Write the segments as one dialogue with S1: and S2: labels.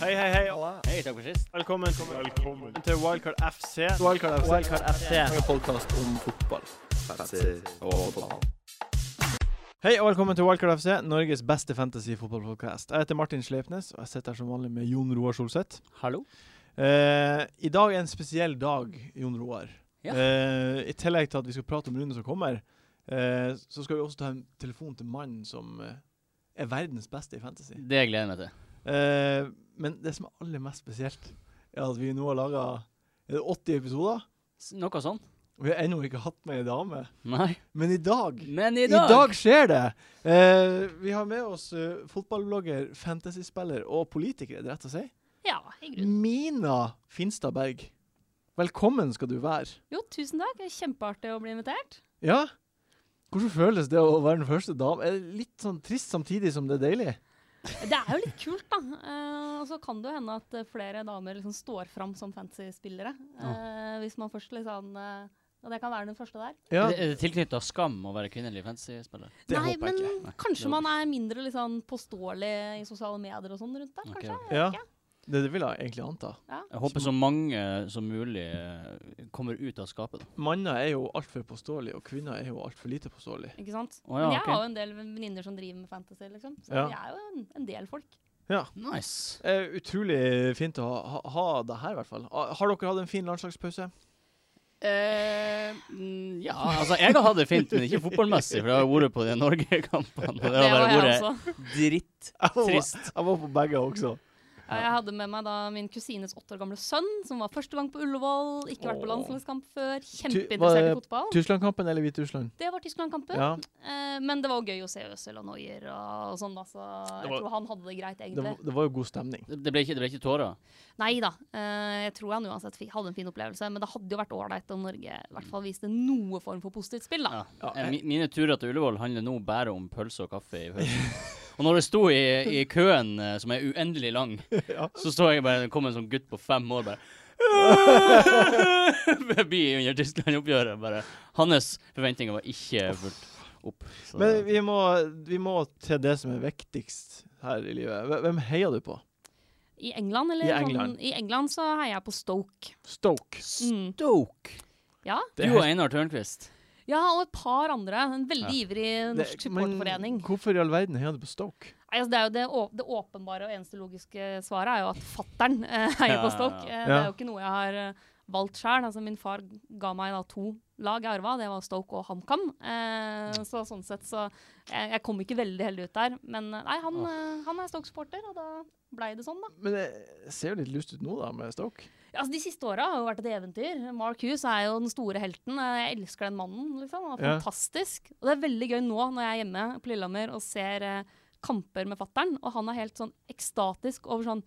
S1: Hei, hei, hei.
S2: Hei, takk for sist.
S1: Velkommen, til Wildcard FC.
S3: Wildcard FC.
S2: Wildcard FC.
S3: En podkast om fotball.
S1: Hei og velkommen til Wildcard FC, Norges beste fantasy-fotballpodkast. Jeg heter Martin Sleipnes, og jeg sitter her som vanlig med Jon Roar Solseth.
S2: Hallo.
S1: Eh, I dag er en spesiell dag, Jon Roar.
S2: Ja.
S1: Eh, I tillegg til at vi skal prate om runden som kommer, eh, så skal vi også ta en telefon til mannen som eh, er verdens beste i fantasy.
S2: Det gleder jeg meg til.
S1: Eh, men det som er aller mest spesielt, er at vi nå har laga 80 episoder,
S2: S- Noe sånn?
S1: og vi har ennå ikke hatt med ei dame.
S2: Nei.
S1: Men i dag
S2: Men
S1: i dag, skjer det! Eh, vi har med oss eh, fotballblogger, fantasyspiller og politiker, er det rett å si.
S4: Ja, i grunnen.
S1: Mina Finstad Berg. Velkommen skal du være.
S4: Jo, tusen takk. Det er kjempeartig å bli invitert.
S1: Ja? Hvordan føles det å være den første dame? Er det litt sånn trist samtidig som det er deilig?
S4: Det er jo litt kult, da. Eh, og så kan det jo hende at eh, flere damer liksom står fram som fancy-spillere. Eh, hvis man først liksom eh, Og det kan være den første der.
S1: Ja,
S2: Er det tilknytta skam å være kvinnelig fantasy-spiller?
S1: det
S4: Nei,
S1: håper
S4: men
S1: jeg ikke.
S2: Nei,
S4: kanskje
S2: det
S4: man er mindre liksom, påståelig i sosiale medier og sånn rundt der,
S2: Ok, ok.
S4: kanskje? Jeg
S1: Ja.
S4: vet ikke.
S1: Det, det vil jeg egentlig anta.
S2: Jeg håper så mange som mulig eh, kommer ut av skapet. da.
S1: Manner er jo altfor påståelige, og kvinner er jo altfor lite påståelige.
S4: Ikke sant?
S2: Å ja,
S4: Men jeg
S2: ok.
S4: har jo en del venninner som driver med fantasy, liksom. Så
S1: Ja.
S4: vi er jo en, en del folk.
S2: Nice.
S1: Eh, utrolig fint å ha, ha, ha det her, i hvert fall. Ah, Har dere hatt en fin landslagspause?
S2: mm, ja, altså jeg har hatt det fint, men ikke fotballmessig, for jeg har vært på de Norge-kampene. og Det har bare vært
S4: også.
S2: drittrist.
S1: Jeg var på begge også.
S4: Ja, jeg hadde med meg da min kusines åtte år gamle sønn, som var første gang på Ullevål. Ikke vært på
S1: Åh.
S4: landslagskamp før.
S1: var
S4: Kjempeinteressert
S1: det
S4: i fotball.
S1: Tyskland-kampen eller Hviterussland?
S4: Det var Tyskland-kampen.
S1: Ja,
S4: Eh, men det var jo gøy å se Øzil og Neuer og, og sånn, da. Så
S1: Det
S4: jeg
S1: var-
S4: tror han hadde det greit,
S1: det,
S4: egentlig.
S1: var- det var jo god stemning.
S2: Det ble ikke, det ble ikke tårer.
S4: Nei da. Eh, jeg tror han uansett fi- hadde en fin opplevelse. Men det hadde jo vært ålreit om Norge i hvert fall viste noe form for positivt spill, da.
S2: Ja. Eh, mi- Mine turer til Ullevål handler nå bare om pølse og kaffe i pausen. Og når jeg sto i, i køen, eh, som er uendelig lang,
S1: Ja.
S2: så så jeg bare det kom en sånn gutt på fem år bare Forbi under Tyskland-oppgjøret. bare. Hans forventninger var ikke fulgt opp. Så.
S1: Men vi må, vi må til det som er viktigst her i livet. Hve- Hvem heier du på?
S4: I England, eller?
S1: I
S4: sånn-
S1: England.
S4: I England så heier jeg på Stoke.
S1: Stoke.
S4: Mm.
S2: Stoke!
S4: Ja.
S2: Du og Einar Tørnquist.
S4: ja, og et par andre. En veldig ivrig norsk
S1: Det- men
S4: supportforening.
S1: Hvorfor i all verden heier du på Stoke?
S4: Nei, altså det, er jo det, å- det åpenbare og eneste logiske svaret er jo at fattern eh, heier på Stoke. Eh, det
S1: Ja.
S4: er jo ikke noe jeg har eh, valgt sjøl. Altså, min far ga meg da to lag jeg arva. Det var Stoke og HamKam. Eh, så sånn sett så jeg, jeg kom ikke veldig heldig ut der. Men eh, nei, han, eh, han er Stoke-supporter, og da blei det sånn, da.
S1: Men det ser jo litt lyst ut nå, da, med Stoke.
S4: Ja, altså, de siste åra har jo vært et eventyr. Mark Hughes er jo den store helten. Eh, Jeg elsker den mannen. liksom. Han er
S1: Ja.
S4: fantastisk. Og det er veldig gøy nå når jeg er hjemme på Lillehammer og ser eh, kamper med fattern, og han er helt sånn ekstatisk over sånn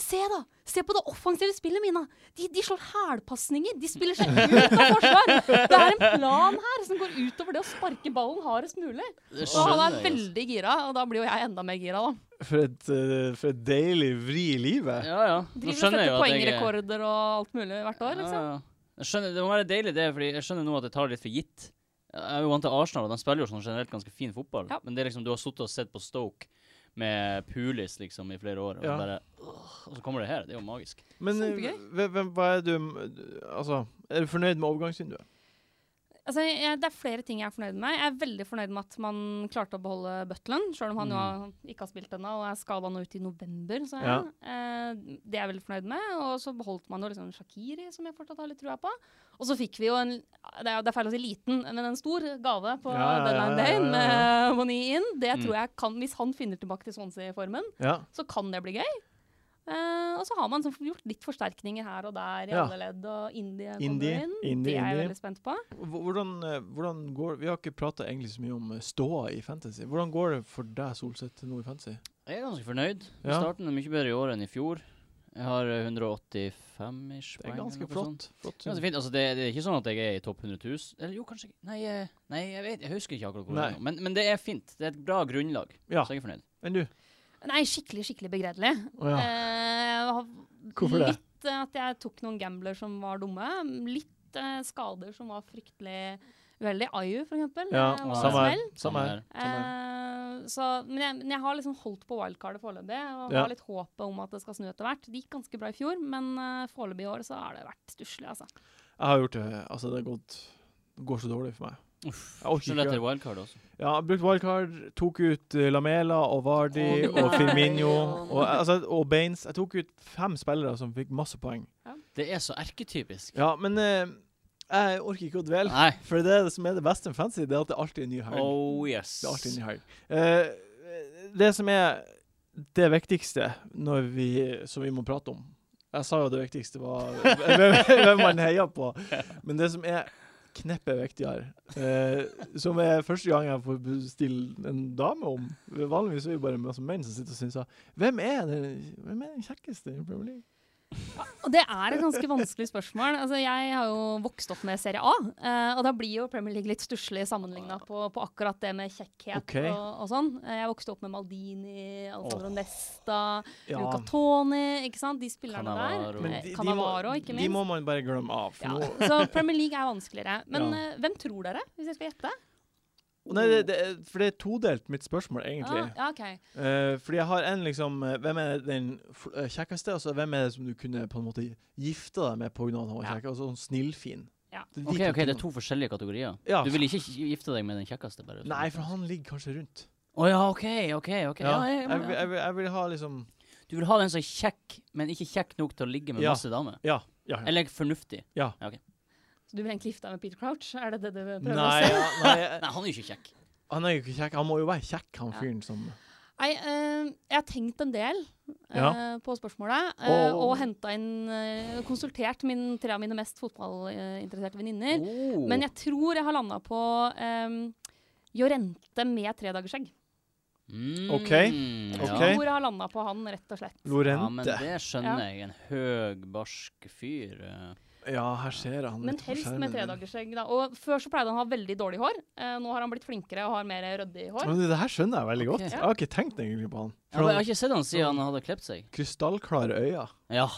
S4: Se, da! Se på det offensive spillet, Mina! De, de slår hælpasninger! De spiller seg ut av forsvar! Det er en plan her som går utover det å sparke ballen hardest mulig.
S2: Det
S4: Og han er
S2: skjønner jeg. altså.
S4: veldig gira, og da blir jo jeg enda mer gira, da.
S1: For et, eh, for et deilig vri i livet.
S2: Ja, ja. Nå
S4: Driver og
S2: skjønner jeg jo at
S4: setter
S2: jeg er-
S4: poengrekorder og alt mulig hvert år, liksom.
S2: Ja, ja. Jeg skjønner, det må være deilig, det, fordi jeg skjønner nå at jeg tar det litt for gitt. Jeg er jo vant til Arsenal, og de spiller jo sånn generelt ganske fin fotball.
S4: Ja.
S2: Men det er liksom, du har sittet og sett på Stoke med Pulis liksom i flere år, og,
S1: Ja.
S2: bare, åh, og så kommer det her. Det er jo magisk.
S1: Men eh,
S4: Kjempegøy.
S1: hve- hvem, hva er du Altså, er du fornøyd med overgangsvinduet?
S4: Altså, jeg, det er flere ting jeg er fornøyd med. Jeg er veldig fornøyd med at man klarte å beholde Butlen, selv om han jo har- ikke har spilt ennå og er skada nå ut i november. Så
S1: Mm. Ja.
S4: eh, det er jeg veldig fornøyd med. Og så beholdt man jo liksom Shakiri, som jeg fortsatt har litt trua på. Og så fikk vi jo en det er, det er feil å si liten, men en stor gave på
S1: Ja, ja, ja, ja,
S4: deadline day
S1: ja, ja.
S4: med Moni inn. Det
S2: Mm.
S4: tror jeg kan, Hvis han finner tilbake til Swansea-formen,
S1: Ja.
S4: så kan det bli gøy. Eh, og så har man sånn gjort litt forsterkninger her og der i
S1: Ja.
S4: alle ledd, og Indie kommer
S1: Indie,
S4: inn.
S1: indie,
S4: det er
S1: indie.
S4: jeg veldig spent på.
S1: Hvor- Hvordan, eh, hvordan går Vi har ikke prata egentlig så mye om eh, ståa i Fantasy. Hvordan går det for deg, Solseth, nå i Fantasy?
S2: Jeg er ganske fornøyd.
S1: Ja.
S2: Starten er mye bedre i år enn i fjor. Jeg har eh, 185-ish
S1: Det er
S2: poeng.
S1: ganske
S2: eller noe
S1: flott.
S2: sånt.
S1: flott.
S2: Det er Ganske fint. Altså, det, det er ikke sånn at jeg er i topp 100 000. Eller jo, kanskje ikke. Nei, eh, nei jeg vet Jeg husker ikke akkurat hvor
S1: Nei.
S2: jeg er nå. Men, men det er fint. Det er et bra grunnlag,
S1: Ja.
S2: så jeg er fornøyd.
S1: Enn du?
S4: Nei, skikkelig, skikkelig begredelig.
S1: Å ja.
S4: Eh, har
S1: Hvorfor det?
S4: Litt eh, at jeg tok noen gambler som var dumme. Litt eh, skader som var fryktelig Veldig IU, for eksempel.
S1: Ja,
S4: eh, var
S2: samme
S4: smell.
S1: her.
S2: Sånn
S1: Samme her.
S4: Eh, så, men, jeg, men jeg har liksom holdt på wildcardet foreløpig, og
S1: Ja.
S4: har litt håpet om at det skal snu etter hvert. Det gikk ganske bra i fjor, men eh, foreløpig i år så har det vært stusslig, altså.
S1: Jeg har gjort det. Altså, det har gått det går så dårlig for meg.
S2: Uff.
S1: Jeg orker
S2: Selv
S1: ikke.
S2: etter wildcard også.
S1: Ja, jeg har brukt wildcard, tok ut eh, Lamela og Vardi
S2: Å,
S1: og
S2: nei.
S1: Firmino og, altså, og Baines. Jeg tok ut fem spillere som fikk masse poeng.
S2: Det er så erketypisk.
S1: Ja, men eh, jeg orker ikke å dvele.
S2: Nei.
S1: For det er det som er det beste med fantasy, det er at det alltid er en ny helg.
S2: Oh yes.
S1: Det er alltid en ny helg. Eh, det som er det viktigste når vi, som vi må prate om Jeg sa jo det viktigste var hvem hvem man heier på. Men det som er kneppet viktigere, eh, som er første gang jeg får bestille en dame om Vanligvis er det jo bare masse menn som sitter og syns at, Hvem er den, hvem er den kjekkeste i Premier League?
S4: Og det er et ganske vanskelig spørsmål. Altså, jeg har jo vokst opp med Serie A, eh, og da blir jo Premier League litt stusslig sammenligna på, på akkurat det med kjekkhet
S1: Ok.
S4: og, og sånn. Eh, Jeg vokste opp med Maldini, Alessandro
S1: Åh.
S4: Nesta, Luca Toni, ikke sant? De spillerne der.
S2: Cannavaro.
S1: Men
S4: Eh,
S1: de- de må-
S4: Cannavaro, ikke
S1: De må
S4: minst.
S1: man bare glemme av. For
S4: Ja,
S1: nå,
S4: så Premier League er vanskeligere. Men
S1: Ja.
S4: eh, hvem tror dere, hvis jeg skal gjette?
S1: nei, det, det, er- for det er todelt, mitt spørsmål, egentlig.
S4: Ah, ja, ok.
S1: Eh, fordi jeg har en liksom eh, Hvem er den f- eh, kjekkeste, og så hvem er det som du kunne på en måte gifta deg med pga. han var
S4: Ja.
S1: kjekk? Altså sånn snillfin.
S4: Ja.
S1: Det er de
S2: OK,
S1: to
S2: ok, det er
S1: tingene.
S2: to forskjellige kategorier.
S1: Ja.
S2: Du vil ikke gifte deg med den kjekkeste, bare?
S1: Nei, for han ligger kanskje rundt.
S2: Å ja, OK, OK. ok. Ja, jeg,
S1: jeg, vil- jeg, vil- jeg vil ha liksom
S2: Du vil ha den som er kjekk, men ikke kjekk nok til å ligge med
S1: Ja.
S2: masse damer?
S1: Ja. ja, ja.
S2: Eller fornuftig?
S4: Så du vil egentlig gifte deg med Peter Crouch? Er det det du prøver
S1: Nei,
S4: å si?
S1: ja, nei jeg-
S2: Nei, han er jo ikke kjekk.
S1: han er jo ikke kjekk. Han må jo være kjekk, han
S4: Ja.
S1: fyren som
S4: Nei, eh, jeg har tenkt en del eh,
S1: Ja.
S4: på spørsmålet. eh,
S1: Og-
S4: Og henta inn eh, Konsultert min, tre av mine mest fotballinteresserte venninner.
S2: Oh.
S4: Men jeg tror jeg har landa på um, Jorente med tredagersskjegg.
S2: mm,
S1: Ok,
S2: ja.
S1: ok.
S4: Tror jeg har landa på han, rett og slett.
S2: Ja, men
S1: Lorente.
S2: det skjønner jeg. En høg, barsk fyr. eh.
S1: Ja, her ser jeg han.
S4: Men
S1: litt på
S4: helst
S1: skjermen
S4: med
S1: min.
S4: tredagersskjegg. da. Og Før så pleide han å ha veldig dårlig hår. Eh, nå har han blitt flinkere og har mer ryddig hår.
S1: Men det, det her skjønner jeg veldig godt.
S2: Ok.
S1: Jeg har ikke tenkt egentlig på han.
S2: Ja, men
S1: For
S2: jeg har
S1: han
S2: ikke sett han siden han hadde klept seg.
S1: Krystallklare øyne.
S2: Ja.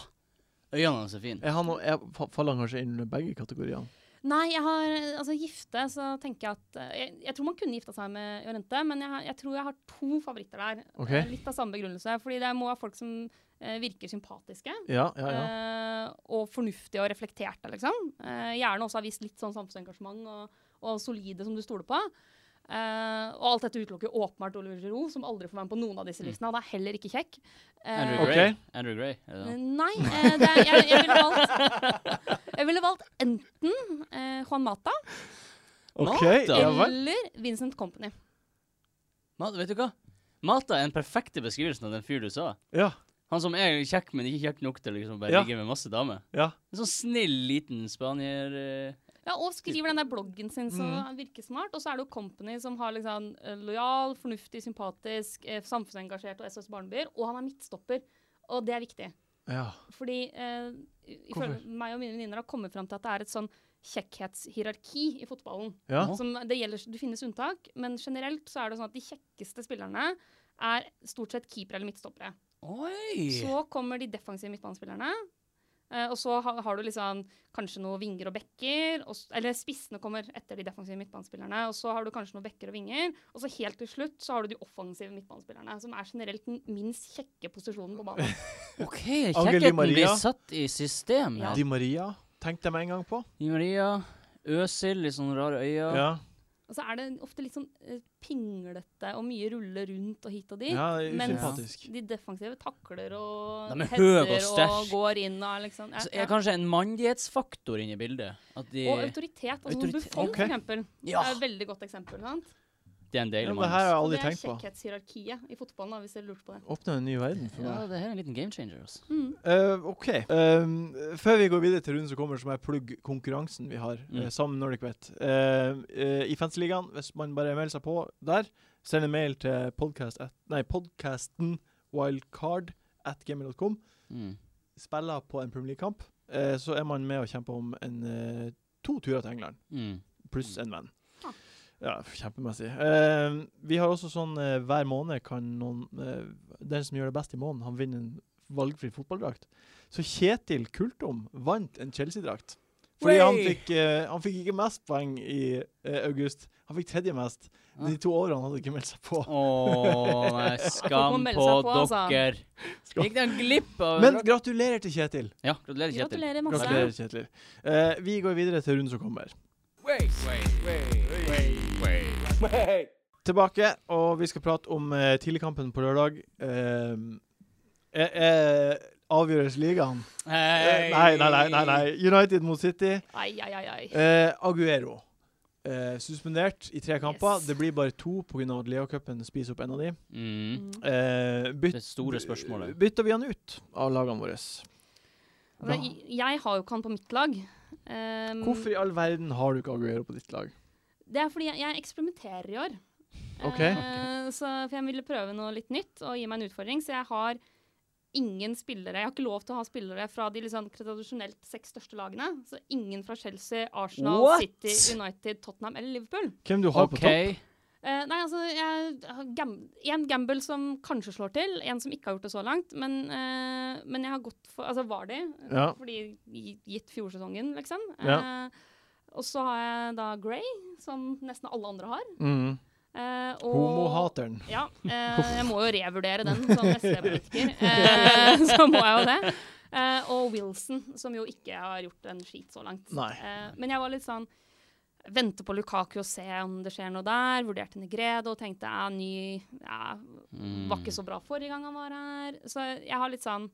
S2: Øynene hans er fine.
S1: Er han, er, faller han kanskje inn under begge kategoriene?
S4: Nei, jeg har, altså gifte, så tenker jeg at eh, jeg, jeg tror man kunne gifta seg med Jorente, men jeg, har- jeg tror jeg har to favoritter der.
S1: Ok.
S4: Eh, Litt av samme begrunnelse. Fordi det må være folk som eh, virker sympatiske.
S1: Ja, ja, ja.
S4: eh, og fornuftige og reflekterte, liksom. Eh, gjerne også har vist litt sånn samfunnsengasjement og, og solide som du stoler på. Eh, og alt dette utelukker jo åpenbart Oliver Giroud, som aldri får være med på noen av
S1: Mm.
S4: disse listene. Han er heller ikke kjekk. Eh,
S2: Andrew
S1: Ok.
S2: Gray. Andrew Gray. Er det han?
S4: Nei, eh, det er, jeg, jeg, ville valgt, jeg ville valgt enten eh, Juan Mata
S1: OK.
S2: Mata.
S1: Ja, vel.
S4: eller Vincent Company.
S2: Mat, vet du hva? Mata er den perfekte beskrivelsen av den fyr du sa.
S1: Ja,
S2: Han som er kjekk, men ikke kjekk nok til å liksom bare
S1: Ja.
S2: ligge med masse damer.
S1: ja.
S2: En sånn snill, liten spanier eh.
S4: Ja, Og skriver den der bloggen sin som
S1: Mm.
S4: virker smart. Og så er det jo Company som har liksom eh, lojal, fornuftig, sympatisk, eh, samfunnsengasjert og SOS Barnebyer. Og han er midtstopper. Og det er viktig.
S1: ja.
S4: Fordi eh, ifølge
S1: Hvorfor?
S4: meg og mine venninner har kommet fram til at det er et sånn kjekkhetshierarki i fotballen.
S1: ja.
S2: Nå.
S4: Som det gjelder, det finnes unntak, men generelt så er det sånn at de kjekkeste spillerne er stort sett keepere eller midtstoppere.
S2: Oi!
S4: Så kommer de defensive midtbanespillerne. eh, og så ha, har du liksom kanskje noen vinger og bekker. Og, s- eller spissene kommer etter de defensive midtbanespillerne. Og så har du kanskje noen bekker og vinger. Og så helt til slutt så har du de offensive midtbanespillerne, som er generelt den minst kjekke posisjonen på banen.
S2: OK,
S1: Angeli
S2: kjekkheten
S1: Maria.
S2: blir satt i system.
S4: Ja.
S2: her.
S1: Di Maria tenkte jeg meg en gang på.
S2: Di Maria. Øsil, litt sånne rare øyne.
S1: Ja.
S4: Og så er det ofte litt sånn eh, pinglete og mye rulle rundt og hit og dit.
S1: ja det er
S4: Mens
S1: usympatisk.
S4: de defensive takler og
S2: De er høye og
S4: header og,
S2: sterk.
S4: går inn og liksom ja,
S2: Så
S4: ja.
S2: er kanskje en mandighetsfaktor inne i bildet. At de
S4: Og autoritet. Altså
S2: Autoritet,
S4: Buffon,
S1: ok.
S4: for eksempel.
S2: Ja!
S4: er et veldig godt eksempel. sant?
S2: Det er en
S1: Ja,
S2: deilig
S1: men det her har
S2: mann.
S1: jeg
S4: Og
S1: aldri
S4: det er
S1: tenkt på.
S4: kjekkhetshierarkiet i fotballen, da, hvis dere lurte på det. Mm,
S1: Åpner en ny verden for
S2: Ja,
S1: meg.
S2: det her er en liten game changer. Altså.
S1: Eh, OK. Eh, før vi går videre til runden som kommer, så må jeg plugge konkurransen vi har
S2: Mm.
S1: eh, sammen med Nordic Vet. Eh, eh, I Fansligaen, hvis man bare melder seg på der, send en mail til podcast at, nei, podcasten wildcard at gmail.com.
S2: Mm.
S1: Spiller på en Premier League-kamp, eh, så er man med og kjemper om en, eh, to turer til England.
S2: Mm.
S1: pluss en venn.
S4: Ah.
S1: Ja, kjempemessig. Eh, vi har også sånn eh, hver måned kan noen eh, Den som gjør det best i måneden, han vinner en valgfri fotballdrakt. Så Kjetil Kultom vant en Chelsea-drakt Fordi han
S2: Way!
S1: fikk, eh, han fikk ikke mest poeng i eh, august. Han fikk tredje mest. De to årene han hadde ikke meldt seg på.
S2: Å nei,
S4: Folk må
S2: skam
S4: melde
S2: på,
S4: seg på, altså.
S2: dere.
S1: Skam.
S2: Gikk den glipp av
S1: Men gratulerer til Kjetil.
S2: Ja, gratulerer, Kjetil.
S4: Gratulerer masse.
S1: Gratulerer, Kjetil. Eh, vi går videre til runden som kommer. Tilbake, og vi skal prate om eh, tidligkampen på lørdag. Eh, er, er avgjøres ligaen? Eh,
S2: Hei.
S1: nei, nei, nei, nei, nei. United mot City.
S4: Ai, ai, ai, ai.
S1: Eh, Aguero. Eh, suspendert i tre kamper.
S4: Yes.
S1: Det blir bare to pga. at Leo-cupen spiser opp en av de.
S2: Mm.
S4: Mm.
S1: Eh, byt,
S2: Det store spørsmålet.
S1: bytter vi han ut av lagene våre?
S4: Men jeg- Altså, Jeg har jo ikke han på mitt lag. Um,
S1: Hvorfor i all verden har du ikke Aguero på ditt lag?
S4: Det er fordi jeg, jeg eksperimenterer i år.
S1: Ok.
S4: Eh, så, for jeg ville prøve noe litt nytt og gi meg en utfordring. Så jeg har ingen spillere Jeg har ikke lov til å ha spillere fra de liksom, tradisjonelt seks største lagene. Så ingen fra Chelsea, Arsenal,
S2: What?
S4: City, United, Tottenham eller Liverpool.
S1: Hvem du har
S2: OK.
S1: på topp?
S4: Eh, nei, altså jeg har gam En gamble som kanskje slår til, en som ikke har gjort det så langt. Men, eh, men jeg har gått for Altså var de,
S1: Ja.
S4: fordi gi- gitt fjorsesongen, liksom.
S1: Ja.
S4: Eh, og så har jeg da Grey, som nesten alle andre har.
S1: Mm.
S4: Eh, og,
S1: Homohateren.
S4: Ja. Eh, jeg må jo revurdere den som SV-politiker. Eh, så må jeg jo det. Eh, og Wilson, som jo ikke har gjort en skit så langt.
S1: Nei.
S4: Eh, men jeg var litt sånn Vente på Lukaku og se om det skjer noe der. Vurderte Negredo og tenkte ja, ny ja, Var ikke så bra forrige gang han var her. Så jeg har litt sånn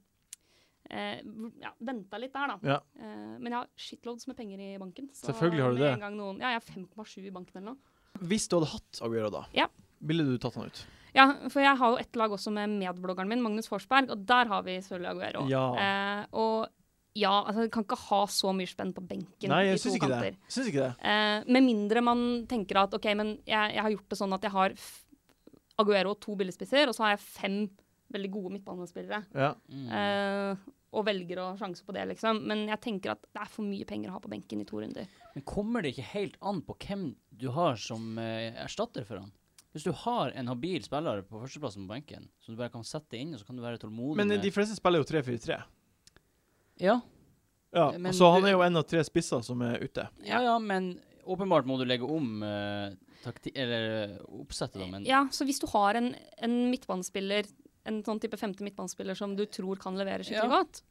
S4: eh, ja, Venta litt der, da.
S1: Ja.
S4: Eh, men jeg har shitloads med penger i banken. Så
S1: Selvfølgelig har du
S4: med
S1: det.
S4: en gang Noen, ja, jeg har 5,7 i banken eller noe.
S1: Hvis du hadde hatt Aguero da,
S4: Ja.
S1: ville du tatt han ut?
S4: Ja, for jeg har jo et lag også med medbloggeren min, Magnus Forsberg, og der har vi selvfølgelig Aguero.
S1: Ja.
S4: Eh, og ja, altså vi kan ikke ha så mye spenn på benken
S1: Nei, jeg
S4: i to
S1: syns ikke det.
S4: kanter.
S1: Syns ikke det.
S4: Eh, med mindre man tenker at OK, men jeg, jeg har gjort det sånn at jeg har f Aguero og to billespisser, og så har jeg fem veldig gode midtbanespillere.
S1: Ja.
S4: Eh, og velger å sjanse på det, liksom. Men jeg tenker at det er for mye penger å ha på benken i to runder.
S2: Men kommer det ikke helt an på hvem du har som eh, erstatter for han? Hvis du har en habil spiller på førsteplassen på benken, som du bare kan sette inn, og så kan du være tålmodig
S1: Men eh,
S2: med
S1: de fleste spiller jo 3-4-3.
S2: ja,
S1: Ja.
S2: Men
S1: Så han
S2: du-
S1: er jo en av tre spisser som er ute.
S2: ja, ja, men åpenbart må du legge om eh, takti... Eller eh, oppsettet, da, men
S4: Ja, så hvis du har en, en midtbanespiller, en sånn type femte midtbanespiller som du tror kan levere skikkelig
S2: Ja.
S4: godt,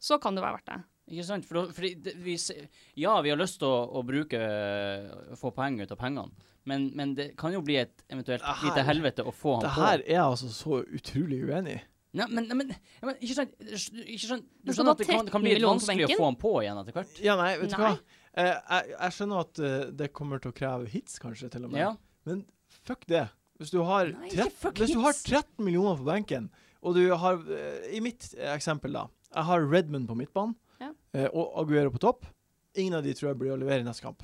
S4: så kan det være verdt det.
S2: Ikke sant? For, da- fordi det, vi, se- ja, vi har lyst til å, å bruke å Få poeng ut av pengene, men, men det kan jo bli et eventuelt
S1: Det her-
S2: lite helvete å få
S1: Ah,
S2: han
S1: Det
S2: på.
S1: her er jeg altså så utrolig uenig i.
S2: Nei, men, nei, men, ja, men ikke sant ikke sant, Du skjønner
S4: Men skal du ha
S2: at det kan, det kan
S4: 13
S2: bli litt
S4: millioner på
S2: vanskelig å
S4: benken?
S2: få han på igjen etter hvert?
S1: Ja, nei, vet du hva?
S4: Nei.
S1: Eh, jeg, jeg skjønner at eh, det kommer til å kreve hits, kanskje, til og med.
S2: Ja.
S1: Men fuck det. Hvis du har,
S2: Nei, ikke
S1: 13,
S2: fuck
S1: hvis du har
S2: hits.
S1: 13 millioner på benken, og du har eh, I mitt eksempel, da. Jeg har Redmond på midtbanen
S4: Ja.
S1: eh, og Aguero på topp. Ingen av de tror jeg blir å levere i neste kamp.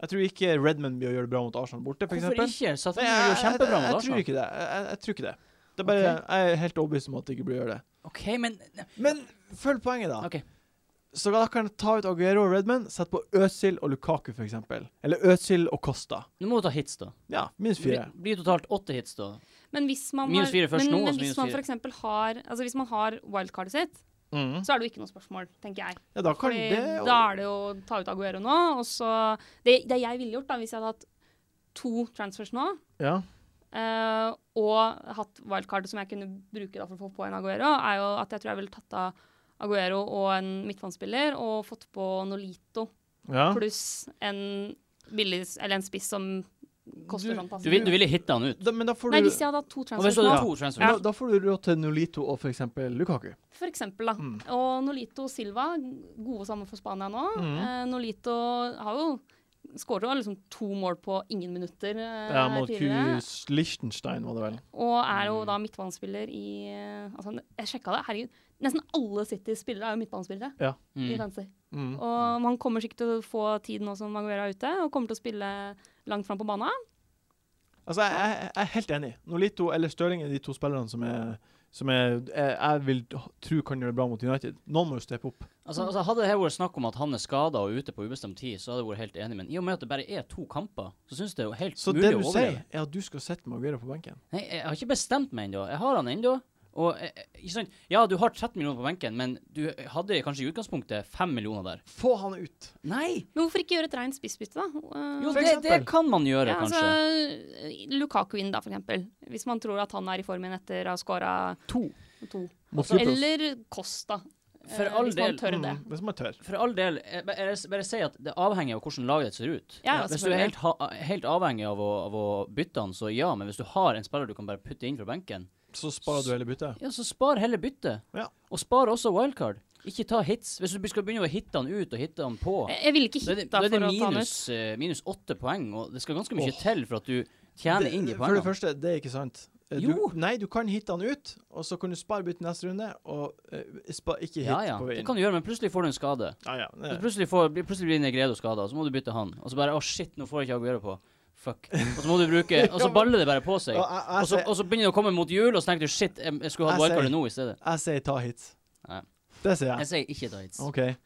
S1: Jeg tror ikke Redmond blir å gjøre det bra mot Arsenal borte, f.eks.
S2: Hvorfor ikke?
S1: Nei,
S2: Satan
S1: jeg,
S2: gjør
S1: jeg,
S2: jo
S1: jeg,
S2: kjempebra altså. mot
S1: tror
S2: Arsenal.
S1: ikke det. Jeg, jeg, jeg tror ikke det. Det er bare, Jeg er helt overbevist om at det ikke blir å gjøre det.
S2: OK, men
S1: Men følg poenget, da.
S2: Ok.
S1: Så da kan jeg ta ut Aguero og Redman, sette på Øzil og Lukaku f.eks. Eller Øzil og Costa.
S2: nå må du ta hits, da.
S1: Ja, minus
S2: Det blir,
S1: fire.
S2: blir totalt åtte hits, da.
S4: Men hvis man,
S2: Minus
S4: har-
S2: fire først
S4: men,
S2: nå, og så
S4: men
S2: minus
S4: hvis man
S2: fire.
S4: for eksempel har, altså hvis man har wildcardet sitt,
S1: Mm.
S4: så er det jo ikke noe spørsmål, tenker jeg.
S1: Ja, da kan
S4: Fordi
S1: det
S4: da er det jo å ta ut Aguero nå, og så Det, det jeg ville gjort da, hvis jeg hadde hatt to transfers nå,
S1: Ja.
S4: eh, og hatt wildcardet som jeg kunne bruke da for å få på en Aguero, er jo at jeg tror jeg ville tatt av Aguero og en midtbanespiller og fått på Nolito
S1: ja.
S4: pluss en billig Eller en spiss som koster
S1: Du-
S4: fantastisk.
S2: Du, vil- du ville hitta han ut.
S1: Da, men da får
S4: Nei,
S1: du
S4: hvis jeg hadde hatt to
S2: Og hvis
S4: transfers
S2: du
S4: nå,
S2: hadde to transfer
S1: da, da får du råd til Nolito og f.eks. Lukaku.
S4: for eksempel, da.
S1: Mm.
S4: Og Nolito og Silva, gode sammen for Spania nå.
S1: Mm.
S4: Eh, Nolito har jo skåret jo liksom to mål på ingen minutter eh,
S1: Ja, mot
S4: tidligere.
S1: Kuz Liechtenstein, var det vel.
S4: Og er jo
S2: Mm.
S4: da midtbanespiller i eh, Altså, jeg sjekka det, herregud. Nesten alle Citys spillere er jo midtbanespillere. i
S2: Mm.
S4: fantasy.
S1: Mm.
S4: Og man kommer sikkert til å få tid nå som Maguera er ute, og kommer til å spille langt fram på banen.
S1: Altså, jeg, jeg, jeg er helt enig. Nolito eller Stirling er de to spillerne som er som jeg, jeg, jeg vil tro kan gjøre det bra mot United. Noen må jo steppe opp.
S2: Altså, altså, hadde det her vært snakk om at han er skada og ute på ubestemt tid, så hadde jeg vært helt enig, men i og med at det bare er to kamper, så syns jeg det er jo helt
S1: Så
S2: mulig
S1: det du
S2: å overleve.
S1: sier, er at du skal sitte med Aguero på benken?
S2: Nei, jeg har ikke bestemt meg ennå. Jeg har han ennå, Og, eh, eh, ikke sant? Ja, du har 13 millioner på benken, men du hadde kanskje i utgangspunktet 5 millioner der.
S1: Få han ut!
S2: Nei!
S4: Men hvorfor ikke gjøre et rent spissbytte, da? Eh,
S2: Jo,
S1: For
S2: det, det
S1: eksempel.
S2: kan man gjøre,
S4: ja,
S2: kanskje.
S4: altså, Lukaku inn, da, for eksempel. Hvis man tror at han er i formen etter å ha skåra
S2: To.
S4: to.
S1: Mot
S4: Eller Costa, eh,
S2: For all
S4: hvis man
S2: del.
S4: tør det.
S1: Mm, hvis man tør.
S2: For all del, eh, ba- jeg s- bare si at det avhenger av hvordan laget ditt ser ut.
S4: Ja, altså, ja,
S2: hvis du er
S4: selvfølgelig.
S2: helt, ha, helt avhengig av å, av å bytte han, så ja. Men hvis du har en spiller du kan bare putte inn fra benken,
S1: Så sparer du hele byttet.
S2: ja, så spar heller byttet.
S1: Ja.
S2: Og spar også wildcard. Ikke ta hits. Hvis du be- skal begynne å hitte han ut og hitte han på,
S4: Jeg, jeg ville ikke
S2: da er det,
S4: hitta
S2: da er det
S4: Eh, for å ta han ut.
S2: minus, eh, minus åtte poeng, og det skal ganske mye
S1: Åh.
S2: til for at du tjener inn de
S1: Det- For det
S2: poengene.
S1: første, det er ikke sant. Eh,
S2: Jo.
S1: Du, nei, du kan hitte han ut, og så kan du spare bytte neste runde, og eh, spa, ikke hit
S2: Ja, ja,
S1: på
S2: det
S1: veien.
S2: kan du gjøre, men plutselig får du en skade.
S1: Ja, ja, det-
S2: Så plutselig, får, blir- plutselig blir Negredo skada, så må du bytte han. Og så bare Å, shit, nå får jeg ikke Aguero på. Fuck. Og så må du bruke Og så baller det bare på seg.
S1: Og jeg, jeg,
S2: Og så,
S1: sier-
S2: og så begynner det å komme mot jul, og så tenker du shit, jeg, jeg skulle hatt
S1: Jeg
S2: wildcardet
S1: sier-
S2: nå i stedet.
S1: jeg sier ta hits.
S2: Nei.
S1: Det sier jeg.
S2: Jeg sier ikke ta hits.
S1: OK. Eh,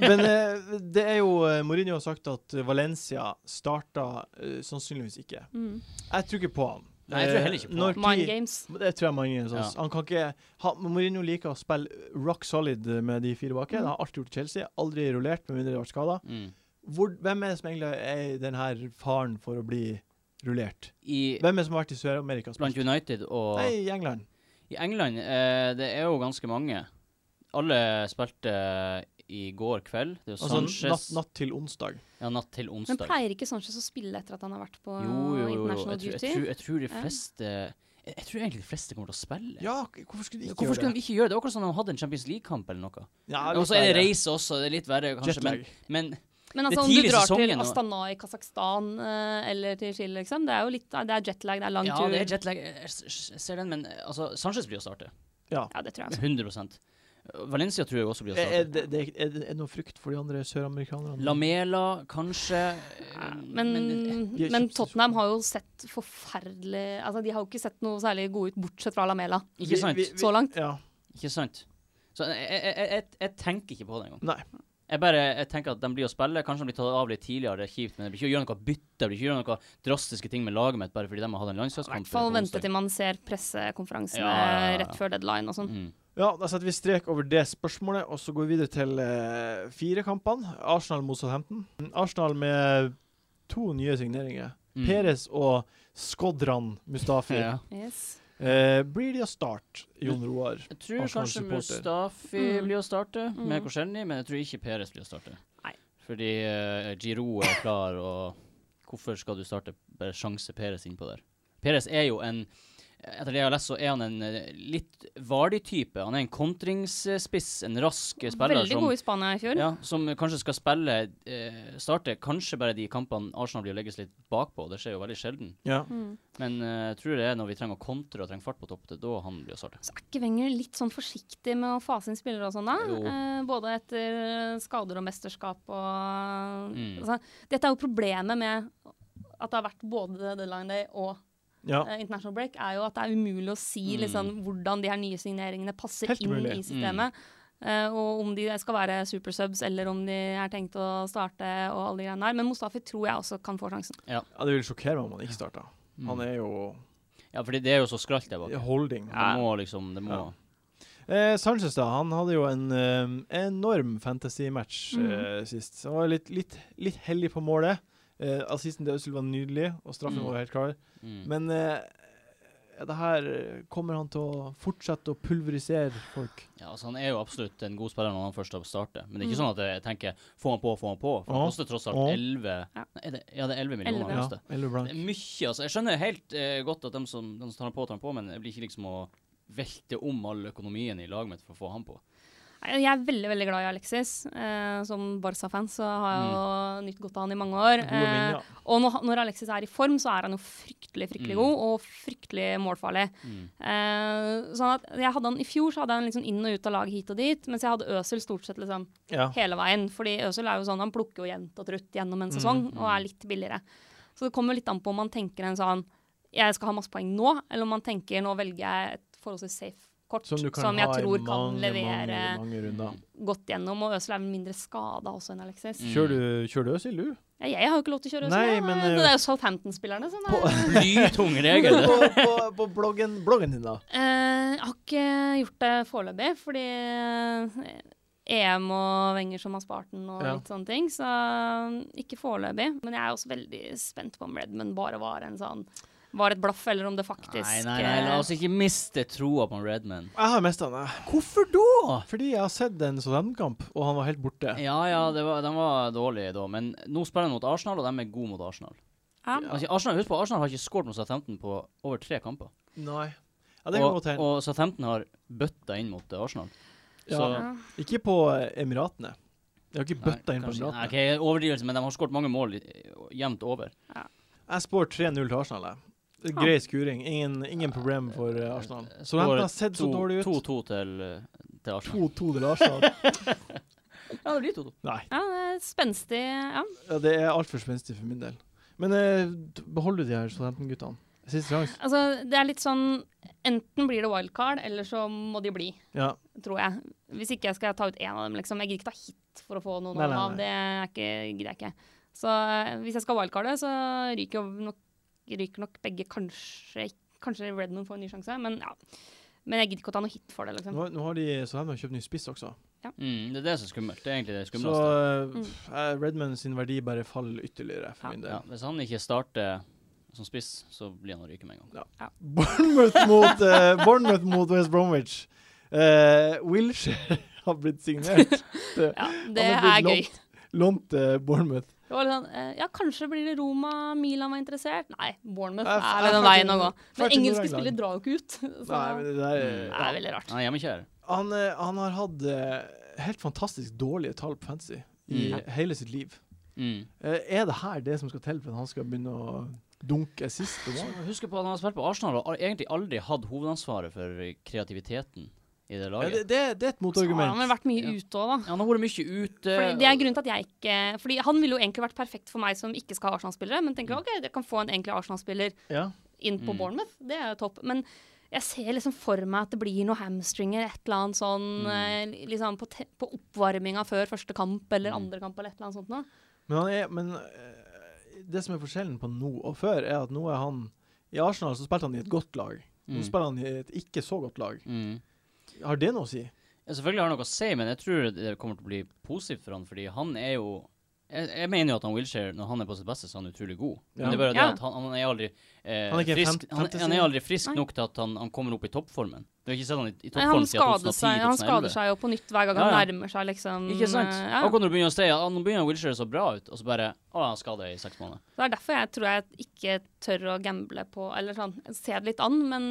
S1: men eh, det er jo eh, Mourinho har sagt at eh, Valencia starta eh, sannsynligvis ikke.
S4: Mm.
S1: Jeg tror ikke på han.
S2: Nei, jeg tror heller ikke på
S1: Eh, når
S4: Mind
S1: tid-
S4: games.
S1: Det tror jeg mange er sånn.
S2: Ja.
S1: Han kan ikke ha, Mourinho liker å spille rock solid med de fire bak. Det har alltid gjort i Chelsea. Aldri rullert, med mindre det har vært skada.
S2: Mm.
S1: Hvor- Hvem er det som egentlig er den her faren for å bli rullert?
S2: I,
S1: Hvem er det som har vært i Sør-Amerika? og spilt?
S2: blant United og
S1: Nei, i England.
S2: I England, eh, det er jo ganske mange. Alle spilte eh, i går kveld. Det er jo
S1: Altså natt,
S2: Sanchez
S1: natt til onsdag.
S2: Ja, natt til
S4: Men
S2: onsdag.
S4: pleier ikke Sanchez å spille etter at han har vært på
S2: Jo, jo, jo. jo.
S4: international
S2: Jeg, tror- jeg,
S4: duty?
S2: tror, jeg tror de
S4: Ja.
S2: fleste jeg, jeg tror egentlig de fleste kommer til å spille.
S1: Ja, k- hvorfor skulle de ikke
S2: Hvorfor skulle
S1: gjøre det?
S2: de ikke gjøre det? Akkurat som de hadde en Champions League-kamp eller noe.
S1: Ja,
S2: Og så er det reise også, det er litt verre kanskje, men,
S1: Jetlag.
S2: men
S4: Men
S2: Det er
S4: altså, om du
S2: tidlig i
S4: drar til
S2: sesongen nå.
S4: Astana i Kasakhstan eh, eller til Chile, liksom, det er jo litt Det er jetlag, det er lang
S2: Ja,
S4: tur.
S2: det er jetlag. Jeg- Jeg s- jeg ser den, men eh, altså, Sanchez blir å starte.
S4: Ja, det tror jeg.
S2: 100 Valencia tror jeg også blir å
S1: Er, er,
S2: starte.
S1: det, det, er, det- er det noe frykt for de andre søramerikanerne?
S2: Lamela, kanskje.
S4: Ja,
S2: eh,
S4: Men,
S1: de er
S4: men
S1: kjøpt i
S4: Tottenham har jo sett forferdelig Altså, de har jo ikke sett noe særlig gode ut, bortsett fra Lamela,
S2: Ikke sant?
S1: Vi- vi-
S4: så langt.
S1: Ja.
S2: Ikke sant? Så jeg, jeg, jeg, jeg, jeg tenker ikke på det engang.
S1: Nei.
S2: Jeg bare jeg tenker at de blir å spille. Kanskje de blir tatt av litt tidligere, det er kjipt, men det blir ikke å gjøre noe bytte. Det blir ikke å gjøre noe drastiske ting med laget mitt bare fordi de har hatt en
S4: I
S2: landslagskamp.
S4: hvert fall
S2: på
S4: vente
S2: onsdag.
S4: til man ser pressekonferansene
S2: Ja, ja, ja, ja.
S4: rett før deadline og sånn.
S2: Mm.
S1: Ja, Da setter vi strek over det spørsmålet, og så går vi videre til eh, fire kampene. Arsenal mot Southampton. Arsenal med to nye signeringer.
S2: Mm.
S1: Perez og Skodran Mustafi.
S2: Ja.
S4: Yes.
S1: Eh, blir de å starte, Jon Roar?
S2: Jeg tror kanskje
S1: Arsenal-supporter.
S2: Mustafi
S4: Mm.
S2: blir å starte,
S4: Mm.
S2: med Korsenny, men jeg tror ikke Peres blir å starte.
S4: Nei.
S2: Fordi uh, Giro er klar, og hvorfor skal du starte bare sjanse Peres innpå der? Peres er jo en etter det jeg har lest, så er han en eh, litt vardig type. Han er en kontringsspiss, en rask eh, spiller
S4: Veldig
S2: som
S4: god i Spania i fjor.
S2: ja, som kanskje skal spille eh, Starte kanskje bare de kampene Arsenal blir å legges litt bakpå. Det skjer jo veldig sjelden.
S1: Ja.
S4: Mm.
S2: Men eh, jeg tror det er når vi trenger å kontre og trenger fart på topp, det er da han blir å starte.
S4: Så er ikke Wenger litt sånn forsiktig med å fase inn spillere og sånn, da?
S2: Jo.
S4: Eh, både etter eh, skader og mesterskap og
S2: Mm.
S4: altså, Dette er jo problemet med at det har vært både deadline day og
S1: ja.
S4: eh, international break, er jo at det er umulig å si
S2: Mm.
S4: liksom, hvordan de her nye signeringene passer
S1: Helt
S4: inn
S1: umulig.
S4: i systemet. Eh, og om de skal være supersubs, eller om de er tenkt å starte og alle de greiene der. Men Mustafi tror jeg også kan få sjansen.
S1: ja det vil sjokkere meg om han ikke starta.
S2: Mm.
S1: Han er jo
S2: Ja, fordi det er jo så skralt der bak.
S1: holding.
S2: Det må liksom Det må
S1: Ja. Eh, Sanchez da, han hadde jo en eh, enorm fantasy-match
S4: Mm.
S1: eh, sist. Han var litt, litt, litt heldig på målet. Eh, assisten til Øzil var nydelig, og straffen
S2: Mm.
S1: var helt klar.
S2: mm.
S1: Men eh, er det her eh, kommer han til å fortsette å pulverisere folk.
S2: ja, altså Han er jo absolutt en god spiller når han først har startet. Men det er ikke
S4: Mm.
S2: sånn at jeg tenker få han på, få han på. For han
S1: Ja.
S2: koster tross
S1: Ja.
S2: alt 11
S4: Ja.
S2: Nei, er det, Ja, det er 11 millioner. han
S4: Ja. Eh,
S1: Ja,
S2: koster.
S1: eller
S2: Det
S1: blank.
S2: er mye, altså. Jeg skjønner helt eh, godt at de som, de som tar han på, tar han på, men jeg blir ikke liksom å velte om all økonomien i laget mitt for å få han på.
S4: Nei, Jeg er veldig veldig glad i Alexis. Eh, som Barca-fan så har jeg jo nytt godt av han i mange år.
S1: Mm. Gode minner.
S4: Eh, og når, han- når Alexis er i form, så er han jo fryktelig fryktelig
S2: Mm.
S4: god og fryktelig målfarlig.
S2: Mm.
S4: Eh, sånn at jeg hadde han I fjor så hadde jeg han liksom inn og ut av laget hit og dit, mens jeg hadde Øsel stort sett liksom
S1: Ja.
S4: hele veien. Fordi Øsel er jo sånn, han plukker jo jevnt og trutt gjennom en
S1: Mm,
S4: sesong
S2: mm.
S4: og er litt billigere. Så det kommer litt an på om man tenker en sånn jeg skal ha masse poeng nå, eller om man tenker nå velger jeg et forholdsvis safe kort
S1: Som
S4: som,
S1: du kan
S4: jeg
S1: ha i
S4: tror kan
S1: mange, mange,
S4: levere
S1: mange runder.
S4: godt gjennom. Og Øsel er vel mindre skada også enn Alexis.
S2: Mm.
S1: Kjører du, kjører du Øzil, du?
S4: Ja, jeg har jo ikke lov til å kjøre
S1: Nei,
S4: Øsel, jeg.
S1: men,
S4: det
S1: eh,
S4: er jo Southampton-spillerne som er
S1: På-
S2: Blytung regel. det.
S1: på, på, på bloggen, bloggen din, da.
S4: Eh, Jeg har ikke gjort det foreløpig, fordi eh, EM og Wenger som har spart den og
S1: Ja.
S4: litt sånne ting, så mm, ikke foreløpig. Men jeg er også veldig spent på om Redmond bare var en sånn var et blaff, eller om det faktisk
S2: Nei, nei, nei, la oss ikke miste troa på Redman.
S1: Jeg har mista den, jeg.
S2: Hvorfor da?
S1: Fordi jeg har sett en Southampton-kamp, og han var helt borte.
S2: Ja, ja, det var, de var dårlige da, men nå spiller de mot Arsenal, og de er gode mot Arsenal.
S4: eh, Ja.
S2: Altså, Arsenal, husk på, Arsenal har ikke skåret mot Southampton på over tre kamper.
S1: Nei. Ja, det kan
S2: og,
S1: godt hende.
S2: og Southampton har bøtta inn mot eh, Arsenal.
S1: Ja.
S2: Så
S4: Ja.
S1: Ikke på eh, Emiratene. De har ikke bøtta inn på
S2: kanskje- Nei,
S1: Emiratene.
S2: ok, overdrivelse, men de har skåret mange mål eh, jevnt over.
S1: Jeg spår 3-0 til Arsenal. jeg. Det er Grei skuring. Ingen, ingen problem for eh, Arsenal. Southampton har sett så
S2: To-
S1: dårlig ut.
S2: 2-2 til, eh, til Arsenal.
S1: 2-2 til Arsenal.
S2: Ja, det blir 2-2.
S1: Nei.
S4: ja, det er spenstig. Ja.
S1: Ja, det er altfor spenstig for min del. Men eh, behold de her Southampton-guttene. Siste sjanse.
S4: Altså, det er litt sånn Enten blir det wildcard, eller så må de bli,
S1: Ja.
S4: tror jeg. Hvis ikke jeg skal jeg ta ut én av dem, liksom. Jeg gidder ikke ta hit for å få noen
S1: Nei, nei,
S4: av. Det er ikke, gidder jeg ikke. Så eh, hvis jeg skal wildcarde, så ryker jo nok, ryker nok begge kanskje Kanskje Redmond får en ny sjanse, men ja. Men jeg gidder ikke å ta noe hit for det, liksom.
S1: Nå, nå har de Southampton kjøpt ny spiss også.
S2: Mm, det er det som er skummelt. Det er egentlig det
S1: Så
S2: skumleste.
S1: eh, eh, Redman sin verdi bare faller ytterligere for min
S2: ja,
S1: del.
S2: hvis han ikke starter som spiss, så blir han å ryke med en gang.
S1: Bournemouth, mot, eh, Bournemouth mot West Bromwich. Uh, Wilshere har blitt signert.
S4: Ja,
S1: Han
S4: det er
S1: er blitt
S4: gøy.
S1: Lånt til Bournemouth.
S4: Det var litt sånn, eh, ja, kanskje blir det Roma, Milan var interessert. Nei, Bournemouth
S1: Ja,
S4: er
S1: f-
S4: vel den
S1: fertig-
S4: veien å gå. Men
S1: fertig
S4: engelske
S1: Nord-England.
S4: spillere drar jo ikke ut. Så
S1: Nei, men det der
S4: det
S1: eh,
S4: er veldig rart.
S2: Mm. Han er hjemmekjær.
S1: han, eh, han har hatt eh, helt fantastisk dårlige tall på fantasy i
S2: Mm.
S1: hele sitt liv.
S2: Mm.
S1: Eh, er det her det som skal til for at han skal begynne å dunke siste
S2: Så
S1: mål?
S2: Husk på at han har spilt på Arsenal og har egentlig aldri hatt hovedansvaret for kreativiteten i
S1: Ja,
S2: det
S1: det,
S2: laget.
S1: det, det er et
S4: Så har han vel
S1: motargument.
S4: vært mye
S2: Ja.
S4: ute òg, da.
S2: Han har vært mye ute.
S4: Fordi det er grunnen til at jeg ikke Fordi han ville jo egentlig vært perfekt for meg som ikke skal ha Arsenal-spillere, men tenker ok, jeg kan få en egentlig Arsenal-spiller
S1: Ja.
S4: inn på
S2: Mm.
S4: Bournemouth, det er jo topp. Men jeg ser liksom for meg at det blir noe hamstringer, et eller annet sånn
S2: Mm.
S4: eh, liksom på, te- på oppvarminga før første kamp eller
S2: Mm.
S4: andre kamp eller et eller annet sånt noe.
S1: Men, han er, men eh, det som er forskjellen på nå og før, er at nå er han I Arsenal så spilte han i et godt lag. Nå
S2: Mm.
S1: spiller han i et ikke så godt lag.
S2: Mm.
S1: Har det noe å si?
S2: Ja, Selvfølgelig har han noe å si, men jeg tror det kommer til å bli positivt for han, fordi han er jo jeg, jeg mener jo at han Wilshere, når han er på sitt beste, så er han utrolig god. Men
S1: Ja.
S2: det er bare det
S4: Ja.
S2: at han, han er aldri eh,
S1: Han er ikke
S2: frisk,
S1: fem-
S2: han, han er aldri frisk
S4: Nei.
S2: nok til at han, han kommer opp i toppformen. Du har ikke sett han i, i
S4: Nei, han
S2: toppform siden
S4: skader seg, han skader
S2: 2010-2011.
S4: seg jo på nytt hver gang
S2: Ja,
S4: han
S2: ja.
S4: nærmer seg liksom
S2: Ikke sant?
S4: eh,
S2: Akkurat
S4: Ja.
S2: når du begynner å si at nå begynner Wilshere så bra ut, og så bare Å, han skader i seks måneder.
S4: Det er derfor jeg tror jeg ikke tør å gamble på Eller sånn, jeg ser det litt an, men,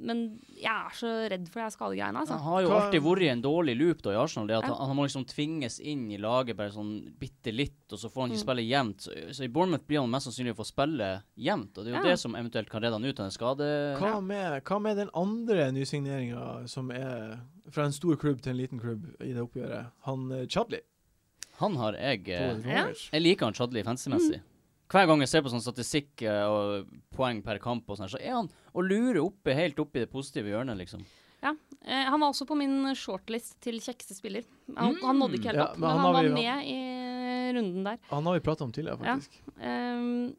S4: men jeg er så redd for de her skadegreiene, altså.
S2: Han har jo
S1: Hva-
S2: alltid vært i en dårlig loop da i Arsenal. Det at
S4: Ja.
S2: han, han må liksom tvinges inn i laget bare sånn bitte litt, og så får han ikke spille jevnt. Så, så i Bournemouth blir han mest sannsynlig å få spille jevnt, og det er jo
S4: Ja.
S2: det som eventuelt kan redde han ut av en skade.
S1: Hva med, hva med den andre nysigneringa som er fra en stor klubb til en liten klubb i det oppgjøret? Han eh, Chadli.
S2: Han har jeg eh,
S1: Tore Romerich.
S2: Jeg liker han Chadli fancy-messig. Hver gang jeg ser på sånn statistikk eh, og poeng per kamp og sånn, så er han å lure oppe helt oppe i det positive hjørnet, liksom.
S4: Eh, han var også på min shortlist til kjekkeste spiller. Han, han nådde ikke helt
S1: Mm, Ja,
S4: opp,
S1: men
S4: men
S1: han
S4: han,
S1: har
S4: var
S1: vi-
S4: med i runden der.
S1: Han har vi prata om tidligere,
S4: Ja.
S1: faktisk.
S4: Ehm,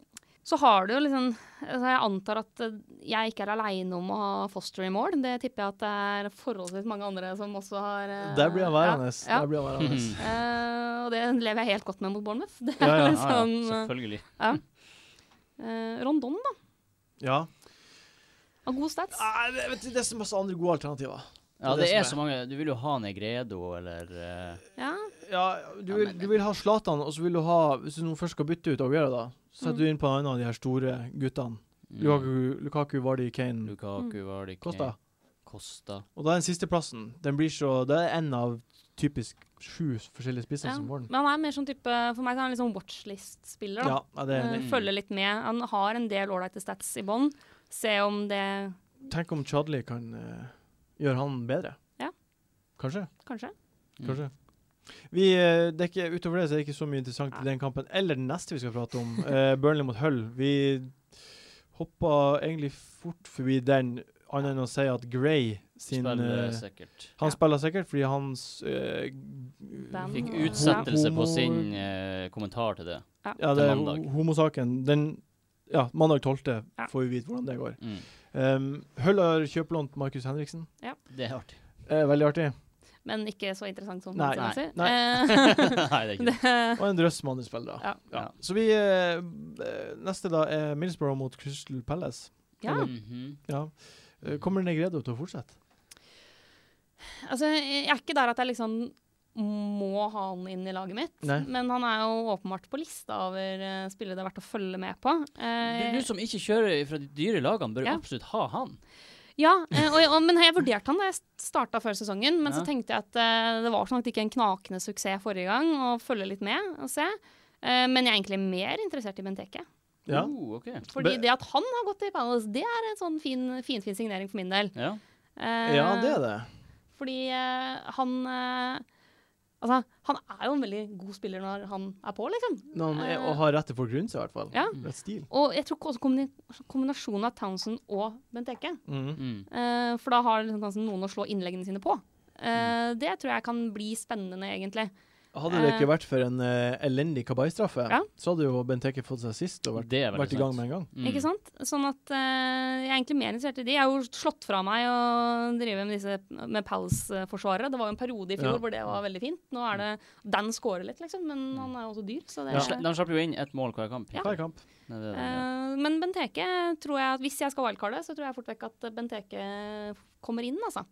S4: så har du jo liksom altså Jeg antar at eh, jeg ikke er aleine om å ha Foster i mål. Det tipper jeg at det er forholdsvis mange andre som også har eh,
S1: Der blir han værende.
S4: Ja,
S1: Der
S4: ja.
S1: blir han værende.
S4: Eh, og det lever jeg helt godt med mot Bournemouth. Det er
S1: Ja, ja, ja,
S2: Ja, ja,
S4: liksom eh,
S2: selvfølgelig.
S4: eh, Rondon, da.
S1: Ja.
S4: Har gode stats.
S1: Nei, det, vet du, det er så masse andre gode alternativer.
S2: Ja,
S1: det
S2: det
S1: som
S2: er
S1: er-
S2: så mange Du vil jo ha Negredo eller eh,
S4: Ja.
S1: Ja, du vil, du vil ha Zlatan, og så vil du ha Hvis du nå først skal bytte ut Aguero, da,
S4: Mm.
S1: setter du inn på en annen av de her store guttene.
S2: mm,
S1: Lukaku, Lukaku Vardy, Kane,
S2: Lukaku var det ikke
S1: Costa.
S2: Costa.
S1: Og da er den sisteplassen Den blir så Det er en av typisk sju forskjellige spisser
S4: Ja.
S1: som får den.
S4: Men han er mer sånn type For meg så er han litt sånn watchlist-spiller. da.
S1: Ja, ja, det er
S4: Eh,
S1: enig.
S2: Mm.
S4: Følge litt med. Han har en del ålreite stats i bånn. Se om det
S1: Tenk om Chadli kan eh, gjøre han bedre.
S4: Ja.
S1: Kanskje.
S4: Kanskje.
S2: Mm.
S1: Kanskje. Vi, eh, det er ikke, utover det så er det ikke så mye interessant
S4: Nei.
S1: i den kampen. Eller den neste vi skal prate om, eh, Burnley mot Hull. Vi hoppa egentlig fort forbi den, annet enn å si at Gray sin
S2: Spiller
S1: eh,
S2: sikkert.
S1: Han spiller sikkert fordi hans eh,
S4: Band.
S2: Fikk
S4: Ja.
S2: utsettelse på
S1: Homo-
S2: sin eh, kommentar til det.
S1: Ja, det er
S2: til mandag.
S1: ho- homosaken. Den Ja, mandag 12.
S4: Ja.
S1: får vi vite hvordan det går.
S2: Mm.
S1: Um, Hull har kjøplånt Markus Henriksen.
S2: Det er artig.
S1: Eh, veldig artig.
S4: Men ikke så interessant som
S1: Nei.
S4: Hans Hansen. Eh,
S1: Nei.
S2: Nei, det er ikke det.
S1: Og en drøss med andre spillere.
S4: Ja.
S2: Ja.
S1: Så vi eh, eh, Neste da er Middlesbrough mot Crystal Palace.
S4: ja.
S2: Mhm.
S1: Ja. Eh, Kommer Negredo til å fortsette?
S4: Altså, jeg er ikke der at jeg liksom må ha han inn i laget mitt.
S1: Nei.
S4: Men han er jo åpenbart på lista over eh, spillere det er verdt å følge med på. Eh,
S2: Du, du som ikke kjører fra de dyre lagene, bør
S4: Ja.
S2: absolutt ha han.
S4: ja, eh, og, og, men jeg vurderte han da jeg starta før sesongen, men
S2: Ja.
S4: så tenkte jeg at eh, det var sånn at det ikke er en knakende suksess forrige gang, og følge litt med og se. Eh, men jeg er egentlig mer interessert i Benteke.
S1: Ja.
S4: Mm.
S2: Oh, ok.
S4: Fordi
S1: Be-
S4: det at han har gått til Palace, det er en sånn fin, fin, fin signering for min del.
S2: Ja.
S4: Eh,
S1: Ja, det er det.
S4: Fordi eh, han eh, Altså, han er jo en veldig god spiller når han er på, liksom.
S1: Når han er, og har rett til å få grunn seg, i hvert fall.
S4: Ja.
S1: Rett stil.
S4: Og jeg tror også kombini- kombinasjonen av Townsend og Benteke.
S1: Mhm.
S2: Mm.
S4: Eh, for da har liksom Townsend noen å slå innleggene sine på. Eh,
S1: Mm.
S4: Det tror jeg kan bli spennende, egentlig.
S1: Hadde det ikke vært for en eh, elendig kabai-straffe,
S4: Ja.
S1: så hadde jo Benteke fått seg sist og vært,
S2: Det er veldig
S1: vært i gang med en gang.
S2: Mm.
S4: Ikke sant? Sånn at eh, jeg er egentlig mer interessert i de. Jeg har jo slått fra meg å drive med disse med Palace-forsvarere. Det var jo en periode i fjor
S1: Ja.
S4: hvor det var veldig fint. Nå er det Dan scorer litt, liksom, men
S2: Mm.
S4: han er jo også dyr, så det
S2: De sla- De slapp jo inn ett mål hver kamp.
S4: Ja.
S1: Hver kamp.
S2: Nei, det er det, ja.
S4: Eh, Men Benteke tror jeg at hvis jeg skal wildcarde, så tror jeg fort vekk at Benteke kommer inn, altså.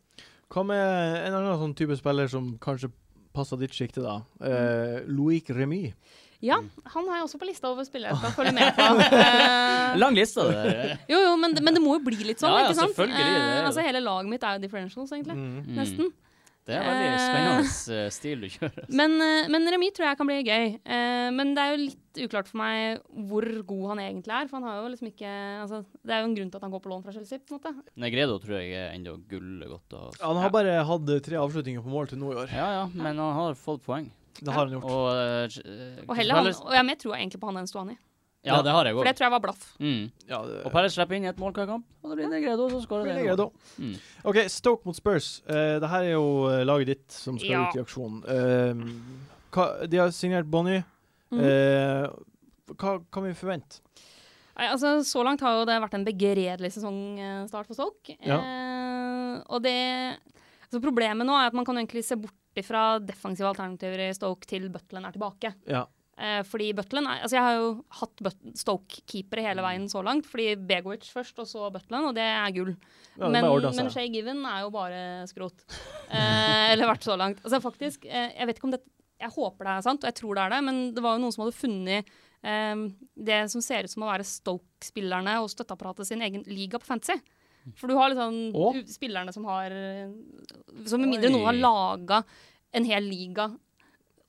S1: Hva med en annen sånn type spiller som kanskje passer ditt sjikte, da? Eh,
S2: Mm.
S1: Loic Remy.
S4: Ja, han er også på lista over spillere jeg skal følge med på. Eh,
S2: Lang liste, det der.
S4: jo, jo, men, men det må jo bli litt sånn,
S2: Ja, ja,
S4: ikke sant?
S2: selvfølgelig, det
S4: Eh,
S2: er det.
S4: altså, hele laget mitt er jo differentials, egentlig.
S1: Mm.
S2: Mm.
S4: Nesten.
S2: Det er veldig
S4: Eh.
S2: spennende eh, stil du kjører.
S4: Men, eh, men remis tror jeg kan bli gøy. Eh, Men det er jo litt uklart for meg hvor god han egentlig er. For han har jo liksom ikke altså, Det er jo en grunn til at han går på lån fra Chelsea, på en måte.
S2: Negredo tror jeg er ennå gullet godt å ha.
S1: Han har bare hatt eh, tre avslutninger på mål til nå i år.
S2: Ja, ja, men han har fått poeng.
S1: Det har han gjort.
S2: Og, eh, j- eh,
S4: Og, heller, han,
S2: Palace-
S4: og jeg har mer troa egentlig på han enn Stuani.
S2: Ja, det har jeg
S4: For det
S2: òg.
S4: tror jeg var blaff.
S2: Mm.
S1: Ja, det,
S2: Og Palace slipper inn ett mål hver kamp, og da blir Negredo, så
S1: Veldig
S2: skårer
S1: greit,
S2: det. ene
S1: da.
S2: målet. Mm.
S1: OK, Stoke mot Spurs. Eh, det her er jo eh, laget ditt som skal
S4: Ja.
S1: ut i aksjon. Eh, hva, de har signert Bonnie.
S4: Mhm.
S1: Eh, hva kan vi forvente?
S4: Nei, altså, så langt har jo det vært en begredelig sesongstart for Stoke.
S1: Ja.
S4: Eh, og det altså Problemet nå er at man kan egentlig se bort fra defensive alternativer i Stoke til Butland er tilbake.
S1: Ja.
S4: Eh, fordi Butland er, altså Jeg har jo hatt But- Stoke-keepere hele veien så langt. Fordi Begovic først, og så Butland, og det er gull.
S1: Ja, det
S4: men
S1: bare altså. ordner seg.
S4: men Shay Given er jo bare skrot. Eh, eller vært så langt. Altså faktisk, eh, Jeg vet ikke om det, jeg håper det er sant, og jeg tror det er det, men det var jo noen som hadde funnet eh, det som ser ut som å være Stoke-spillerne og støtteapparatet sin egen liga på fantasy. For du har liksom
S1: Å?
S4: u- spillerne som har eh, Som med mindre
S2: Oi.
S4: noen har laga en hel liga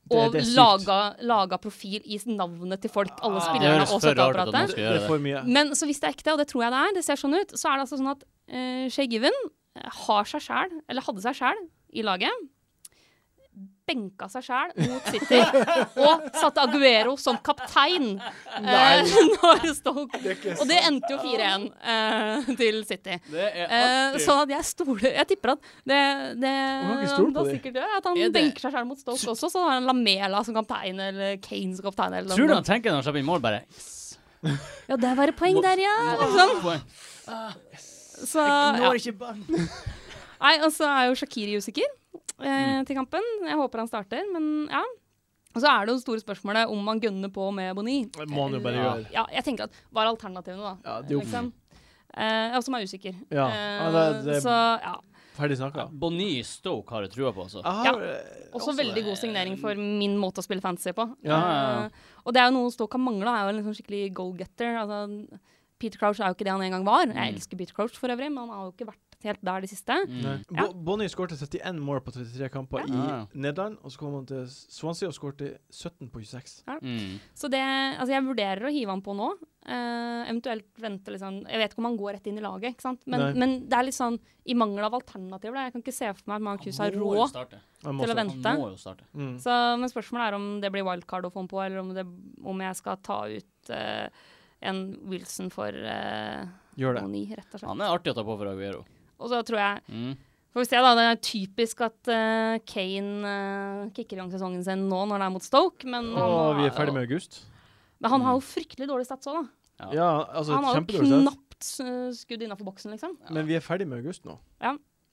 S1: Det-
S4: og
S1: det er sykt.
S4: laga, laga profil i navnet til folk, alle
S1: Ah.
S2: Det
S4: spillerne
S2: høres
S4: og
S2: for rart ut at man
S4: støtteapparatet.
S2: skal
S1: Det
S2: gjøre
S1: er
S2: det.
S1: for mye.
S4: Men så hvis det er ekte, og det tror jeg det er, det ser sånn ut, så er det altså sånn at uh, Shay Given eh, har seg sjæl, eller hadde seg sjæl, i laget. Benka seg sjæl mot City og satte Aguero som kaptein eh, når Stoke Og det endte jo 4-1 eh, til City.
S2: Det er
S4: Eh,
S2: artig.
S4: sånn at jeg stoler Jeg tipper at det, det
S1: kan ikke stole
S4: da
S1: på de.
S4: sikkert gjør, er at han
S2: Er det-
S4: benker seg sjæl mot Stoke også, så har han Lamela som kaptein, eller Kane som kaptein, eller
S2: Tror du
S4: noe.
S2: han tenker når han slipper inn mål, bare yes.
S4: Ja, der var det poeng der, ja! Liksom.
S2: Poeng.
S4: Så,
S2: Jeg
S4: ja.
S2: når ikke barn.
S4: Nei, og så er jo Shakiri usikker eh,
S1: Mm.
S4: til kampen. Jeg håper han starter, men ja. Og så er det jo det store spørsmålet om man gønner på med Boni.
S1: Det må han jo bare
S2: Ja.
S1: gjøre.
S4: Ja, jeg tenker at Hva er alternativene, da?
S1: Ja, det er jo
S4: liksom. Eh, jeg også er usikker.
S1: Ja,
S4: Eh,
S1: ja, det- det-
S4: Så ja.
S1: ferdig snakka.
S2: Bonny Stoke har jeg trua på, altså.
S1: Jeg har, eh,
S4: Også, veldig god signering for min måte å spille fantasy på.
S1: Ja,
S2: ja, ja.
S4: Eh, og det er jo noe Stoke har mangla, er jo en liksom skikkelig goal-getter. Altså, Peter Crouch er jo ikke det han en gang var. Jeg
S2: Mm.
S4: elsker Peter Crouch for øvrig, men han har jo ikke vært helt der de siste.
S2: Mm.
S1: Bo- Bonnie skårte 31 mål på 33 kamper i
S2: Ja.
S1: Nederland, og så kom han til Swansea og skårte 17 på 26.
S2: Mm.
S4: Så det, altså jeg vurderer å hive han på nå. Eh, eventuelt vente litt sånn Jeg vet ikke om han går rett inn i laget, ikke sant? Men,
S1: Nei.
S4: men det er litt sånn i mangel av alternativer. da. Jeg kan ikke se for meg at Marcus har råd.
S1: Jeg må også-
S4: Til å vente.
S2: Han må jo starte.
S1: Mm.
S4: Så, men spørsmålet er om det blir wildcard å få han på, eller om, det, om jeg skal ta ut eh, en Wilson for uh,
S1: Gjør det.
S4: Moni, rett og slett.
S2: Han er artig å ta på for Aguero.
S4: Og så tror jeg
S2: Mm.
S4: Får vi se, da. Det er typisk at eh, Kane eh, kicker i gang sesongen sin nå når det er mot Stoke, men han,
S1: Og vi er
S4: har
S1: ferdig
S4: jo-
S1: med august.
S4: men han har jo fryktelig dårlig stats òg, da.
S2: Ja.
S1: Ja, altså
S4: han har jo
S1: kjempedårlig sett.
S4: knapt eh, skudd innafor boksen, liksom.
S2: Ja.
S1: Men vi er ferdig med august nå.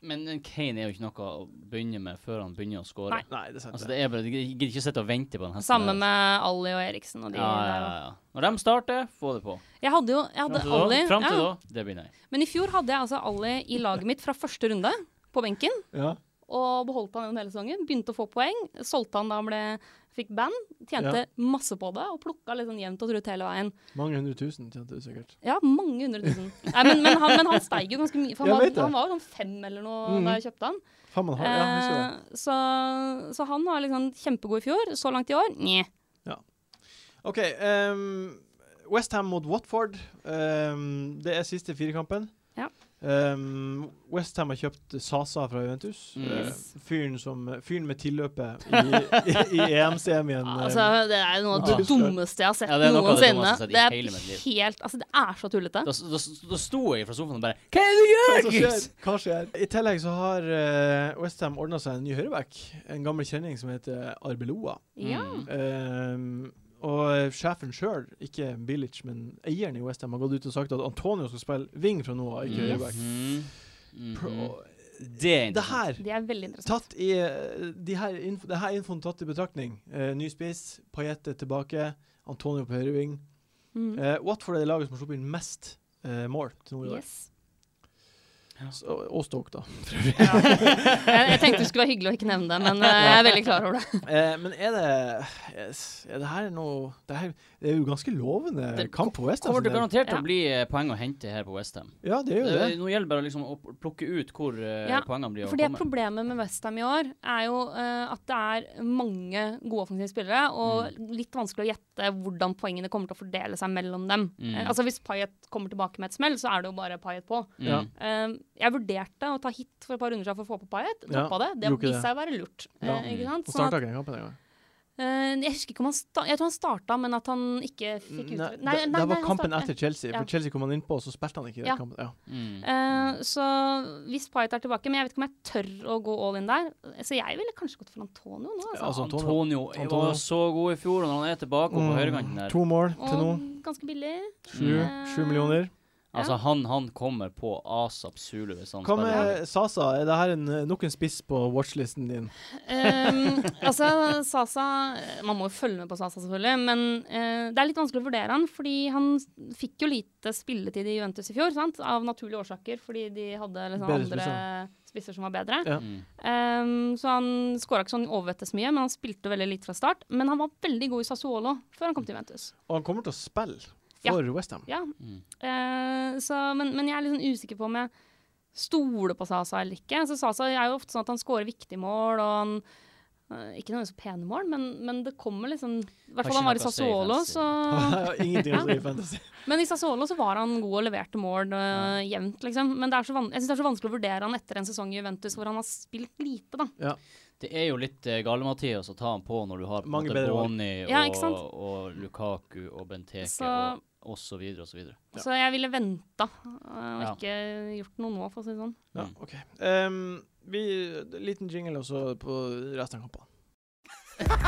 S2: Men eh, Kane er jo ikke noe å begynne med før han begynner å score.
S4: Nei.
S1: Nei, det er sant. det.
S2: Altså, det er bare, Jeg gidder ikke sitte og vente på den hesten.
S4: Samme
S2: der.
S4: med Ali og Eriksen og de
S2: ja, ja,
S4: der.
S2: ja, ja. Når de starter, få det på.
S4: da. Jeg hadde jo
S2: Fram
S4: jeg hadde
S2: til,
S4: Ali
S2: da, frem til
S4: ja.
S2: da, det blir nei.
S4: Men i fjor hadde jeg altså Ali i laget mitt fra første runde på benken.
S1: Ja.
S4: Og beholdt han gjennom hele sesongen. Begynte å få poeng. Solgte han da han ble, fikk band. Tjente masse på det og plukka litt sånn jevnt og trutt hele veien.
S1: Mange hundre tusen tjente du sikkert.
S4: Ja, mange hundre tusen. Nei, men, men, han, men han steig jo ganske mye. For
S1: Jeg
S4: han,
S1: vet det.
S4: var, han var jo sånn fem eller noe
S2: Mm.
S1: Mhm.
S4: da jeg kjøpte han.
S1: Fem og en halv, ja, jeg husker det.
S4: Eh, så, så han var liksom kjempegod i fjor. Så langt i år, njeh.
S1: OK. ehm, West Westham mot Watford. Ehm, det er siste firekampen.
S4: Ja.
S1: Ehm, West Westham har kjøpt Sasa fra Juventus.
S2: Mm.
S1: Eh,
S4: Yes.
S1: fyren, som, fyren med tilløpet i, i, i EM-semien.
S4: Ja,
S1: eh,
S4: Altså, det er jo noe av
S1: Ja.
S4: det dummeste jeg har sett
S2: Ja, det er noe av det dummeste jeg
S4: noensinne.
S2: har sett i
S4: Det er
S2: hele mitt liv.
S4: helt Altså, det er så tullete.
S2: Da, da, da sto jeg fra sofaen og bare Hva er det du
S1: Hva
S2: gjør,
S1: som skjer?
S2: Guss?
S1: Hva skjer? I tillegg så har eh, West Westham ordna seg en ny høyreback. En gammel kjenning som heter Arbeloa.
S4: Ja.
S2: Mm.
S1: Ehm, og sjefen sjøl, ikke Bilic, men eieren i Westham, har gått ut og sagt at Antonio skal spille wing fra nå av, ikke
S4: Yes.
S1: høyreback.
S2: Mhm. Mhm.
S1: Pro-
S2: Det er
S1: Det
S2: interessant.
S1: her
S4: Det er veldig interessant.
S1: Tatt i eh, de her info, Det her infoen tatt i betraktning. Eh, ny spiss, Payet er tilbake, Antonio på høyre ving.
S4: Mm.
S1: Eh, Watford er det laget som har sluppet inn mest eh, mål til nå i dag.
S4: Yes.
S1: Så- Og Stoke, da.
S4: Ja. Jeg, jeg tenkte det skulle være hyggelig å ikke nevne det, men eh, jeg er veldig klar over det.
S1: Eh, men er det yes, Er det her noe det, her, det er jo ganske lovende
S2: Det
S1: kamp på West Ham
S2: Kommer
S1: sin
S2: det
S1: del.
S2: garantert til
S4: Ja.
S2: å bli eh, poeng å hente her på Westham.
S1: Ja, det er jo det.
S2: Nå gjelder det bare liksom å pl- plukke ut hvor eh,
S4: Ja,
S2: poengene blir å
S4: For det
S2: komme.
S4: problemet med Westham i år er jo eh, at det er mange gode offensive spillere, og
S2: Mm.
S4: litt vanskelig å gjette hvordan poengene kommer til å fordele seg mellom dem.
S2: Mm.
S4: Eh, altså Hvis Payet kommer tilbake med et smell, så er det jo bare Payet på.
S2: Mm.
S1: Ja.
S4: Eh, jeg vurderte å ta hit for et par runder siden for å få på Payet.
S1: Ja,
S4: Toppa det. Det
S1: gjorde ikke
S4: viste
S1: det.
S4: seg å være lurt.
S1: Ja.
S4: eh, ikke sant?
S1: Og
S4: Sånn at-
S1: starta ikke den kampen engang.
S4: Eh, jeg husker ikke om han sta jeg tror han starta, men at han ikke fikk ut
S1: Nei, det, det var kampen etter Chelsea.
S4: Ja.
S1: For Chelsea kom han innpå, og så spilte han ikke.
S4: Ja.
S1: den kampen. Ja.
S2: Mm.
S4: Eh, så hvis Payet er tilbake Men jeg vet ikke om jeg tør å gå all in der. Så jeg ville kanskje gått for Antonio nå. Altså.
S1: altså, Antonio-
S2: Antonio,
S1: Antonio.
S2: var så god i fjor, og når han er tilbake og på høyrekanten der
S1: To mål til nå.
S4: Og ganske billig.
S1: Sju,
S4: Mm.
S1: sju millioner.
S2: Altså, han, han kommer på ASAP Zulu hvis han
S1: Hva
S2: spiller.
S1: med Sasa? Er det her en, eh, nok en spiss på watchlisten din?
S4: Ehm, altså, Sasa Man må jo følge med på Sasa, selvfølgelig. Men eh, det er litt vanskelig å vurdere han, fordi han s- fikk jo lite spilletid i Juventus i fjor. Sant? Av naturlige årsaker, fordi de hadde liksom,
S1: Bedre
S4: andre spisser som var bedre.
S1: Ja.
S2: Mm.
S4: Ehm, så han skåra ikke sånn overvettes mye, men han spilte veldig lite fra start. Men han var veldig god i Sassuolo før han kom til Juventus.
S1: Og han kommer til å spille
S4: Ja.
S1: for Westham.
S4: Ja,
S2: Mm.
S4: eh, så, men, men jeg er litt sånn usikker på om jeg stoler på Sasa eller ikke. Så Sasa er jo ofte sånn at han skårer viktige mål, og han eh, Ikke nødvendigvis pene mål, men, men det kommer liksom I hvert
S2: Har
S4: fall han
S2: ikke
S4: var i
S2: noe å si altså. i
S4: Sassuolo,
S2: fantasy.
S4: så
S1: Ingenting å si i fantasy.
S4: Men i Sassuolo så var han god og leverte mål eh, jevnt, liksom. Men det er så van jeg syns det er så vanskelig å vurdere han etter en sesong i Juventus hvor han har spilt lite, da.
S2: Det er jo litt eh, gale, Mathias, å ta han på når du har på en
S1: Mange
S2: måte
S1: bedre valg.
S2: Boni og,
S4: Ja, ikke sant?
S2: og Lukaku og Benteke
S4: Så-
S2: og, og så videre og så videre.
S1: Ja.
S4: Så jeg ville venta eh, og
S2: Ja.
S4: ikke gjort noe nå, for å si det sånn.
S1: Ja,
S2: Mm.
S1: OK. Ehm, vi, liten jingle også på resten av kampene.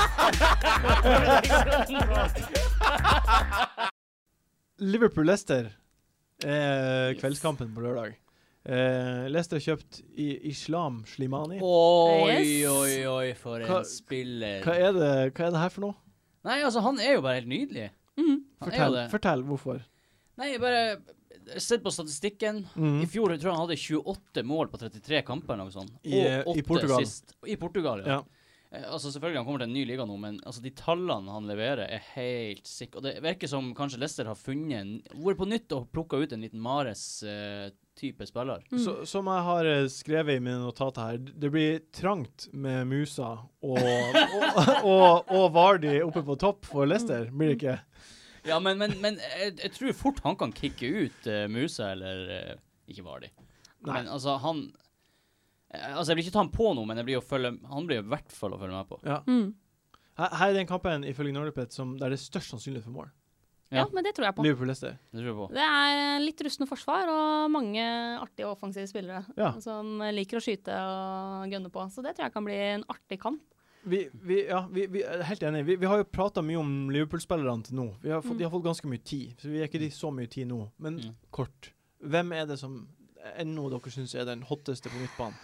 S1: Liverpool-Leicester er
S4: Yes.
S1: kveldskampen på lørdag. Eh, Leicester har kjøpt i Islam Slimani.
S2: Oi,
S4: Yes.
S2: oi, oi, for en
S1: Hva-
S2: spiller.
S1: Hva er, det, hva er det her for noe?
S2: Nei, altså, han er jo bare helt nydelig.
S4: Mhm.
S2: Han er
S1: Fortell,
S2: jo det.
S1: fortell hvorfor.
S2: Nei, jeg bare Sett på statistikken.
S1: Mhm.
S2: I fjor tror jeg han hadde 28 mål på 33 kamper eller noe sånt.
S1: I, eh, i
S2: åtte
S1: Portugal.
S2: Sist. I Portugal, ja.
S1: Ja.
S2: Eh, Altså Selvfølgelig han kommer til en ny liga nå, men altså, de tallene han leverer, er helt sikre. Og det virker som kanskje Leicester har funnet en, vært på nytt og plukka ut en liten Mares-type spiller.
S4: Mm.
S1: Så, som jeg har eh, skrevet i mine notater her, d- det blir trangt med Musa og, og, og, og Vardy oppe på topp for Leicester, blir det ikke?
S2: Ja, men, men, men jeg, jeg tror fort han kan kicke ut eh, Musa eller eh, Ikke Vardi.
S1: Nei.
S2: Men altså, han eh, Altså, jeg vil ikke ta han på nå, men jeg blir å følge, han blir i hvert fall å følge med på.
S1: Ja.
S4: Mm.
S1: Her, her er den kampen ifølge Nordipet som der det er størst sannsynlighet for mål.
S2: Ja.
S4: Ja, men det tror jeg på.
S1: Liverpool-Leicester.
S2: Det tror jeg på.
S4: Det er litt rustne forsvar og mange artige og offensive spillere
S1: Ja.
S4: som liker å skyte og gønne på. Så det tror jeg kan bli en artig kamp.
S1: Vi, vi, ja, vi, vi er helt enig. Vi, vi har jo prata mye om Liverpool-spillerne til nå. Vi har fått,
S4: Mm.
S1: De har fått ganske mye tid, så vi gir ikke de så mye tid nå. Men
S2: Mm.
S1: kort. Hvem er det som ennå dere syns er den hotteste på midtbanen?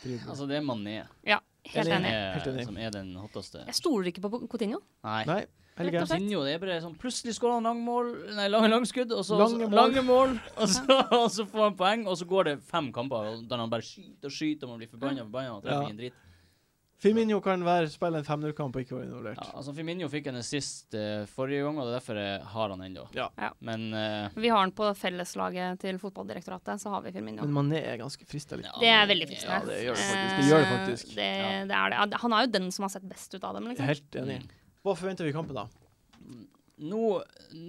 S1: til Liverpool?
S2: Altså, det er Mané
S4: Helt
S1: Enig.
S2: som
S4: enig.
S2: er,
S1: Helt enig.
S2: som er den hotteste.
S4: Jeg stoler ikke på Coutinho.
S2: Nei.
S1: Nei,
S4: Rett
S1: Helge?
S4: og slett.
S2: Coutinho, det er bare sånn Plutselig skårer han langmål, nei, lang, langskudd, og så
S1: Lange mål.
S2: lange mål og, så, og så får han poeng, og så går det fem kamper og der han bare skyter og skyter, og man blir forbanna og forbanna og treffer
S1: Ja.
S2: ingen drit.
S1: Firmino kan være spille en femnerkamp og ikke være involvert.
S2: Ja, altså Firmino fikk en assist eh, forrige gang, og det er derfor jeg har han ennå.
S1: Ja.
S4: Ja.
S2: Men eh,
S4: Vi har den på felleslaget til Fotballdirektoratet, så har vi Firmino.
S1: Men Mané er ganske fristelig.
S2: ja,
S4: Det er veldig
S1: Ja,
S4: fristende.
S1: det gjør det faktisk.
S4: Eh,
S1: Det gjør det faktisk.
S4: Det, det er det. Ja, Han er jo den som har sett best ut av dem, liksom.
S1: Helt enig. Hva forventer vi i kampen, da?
S2: Nå,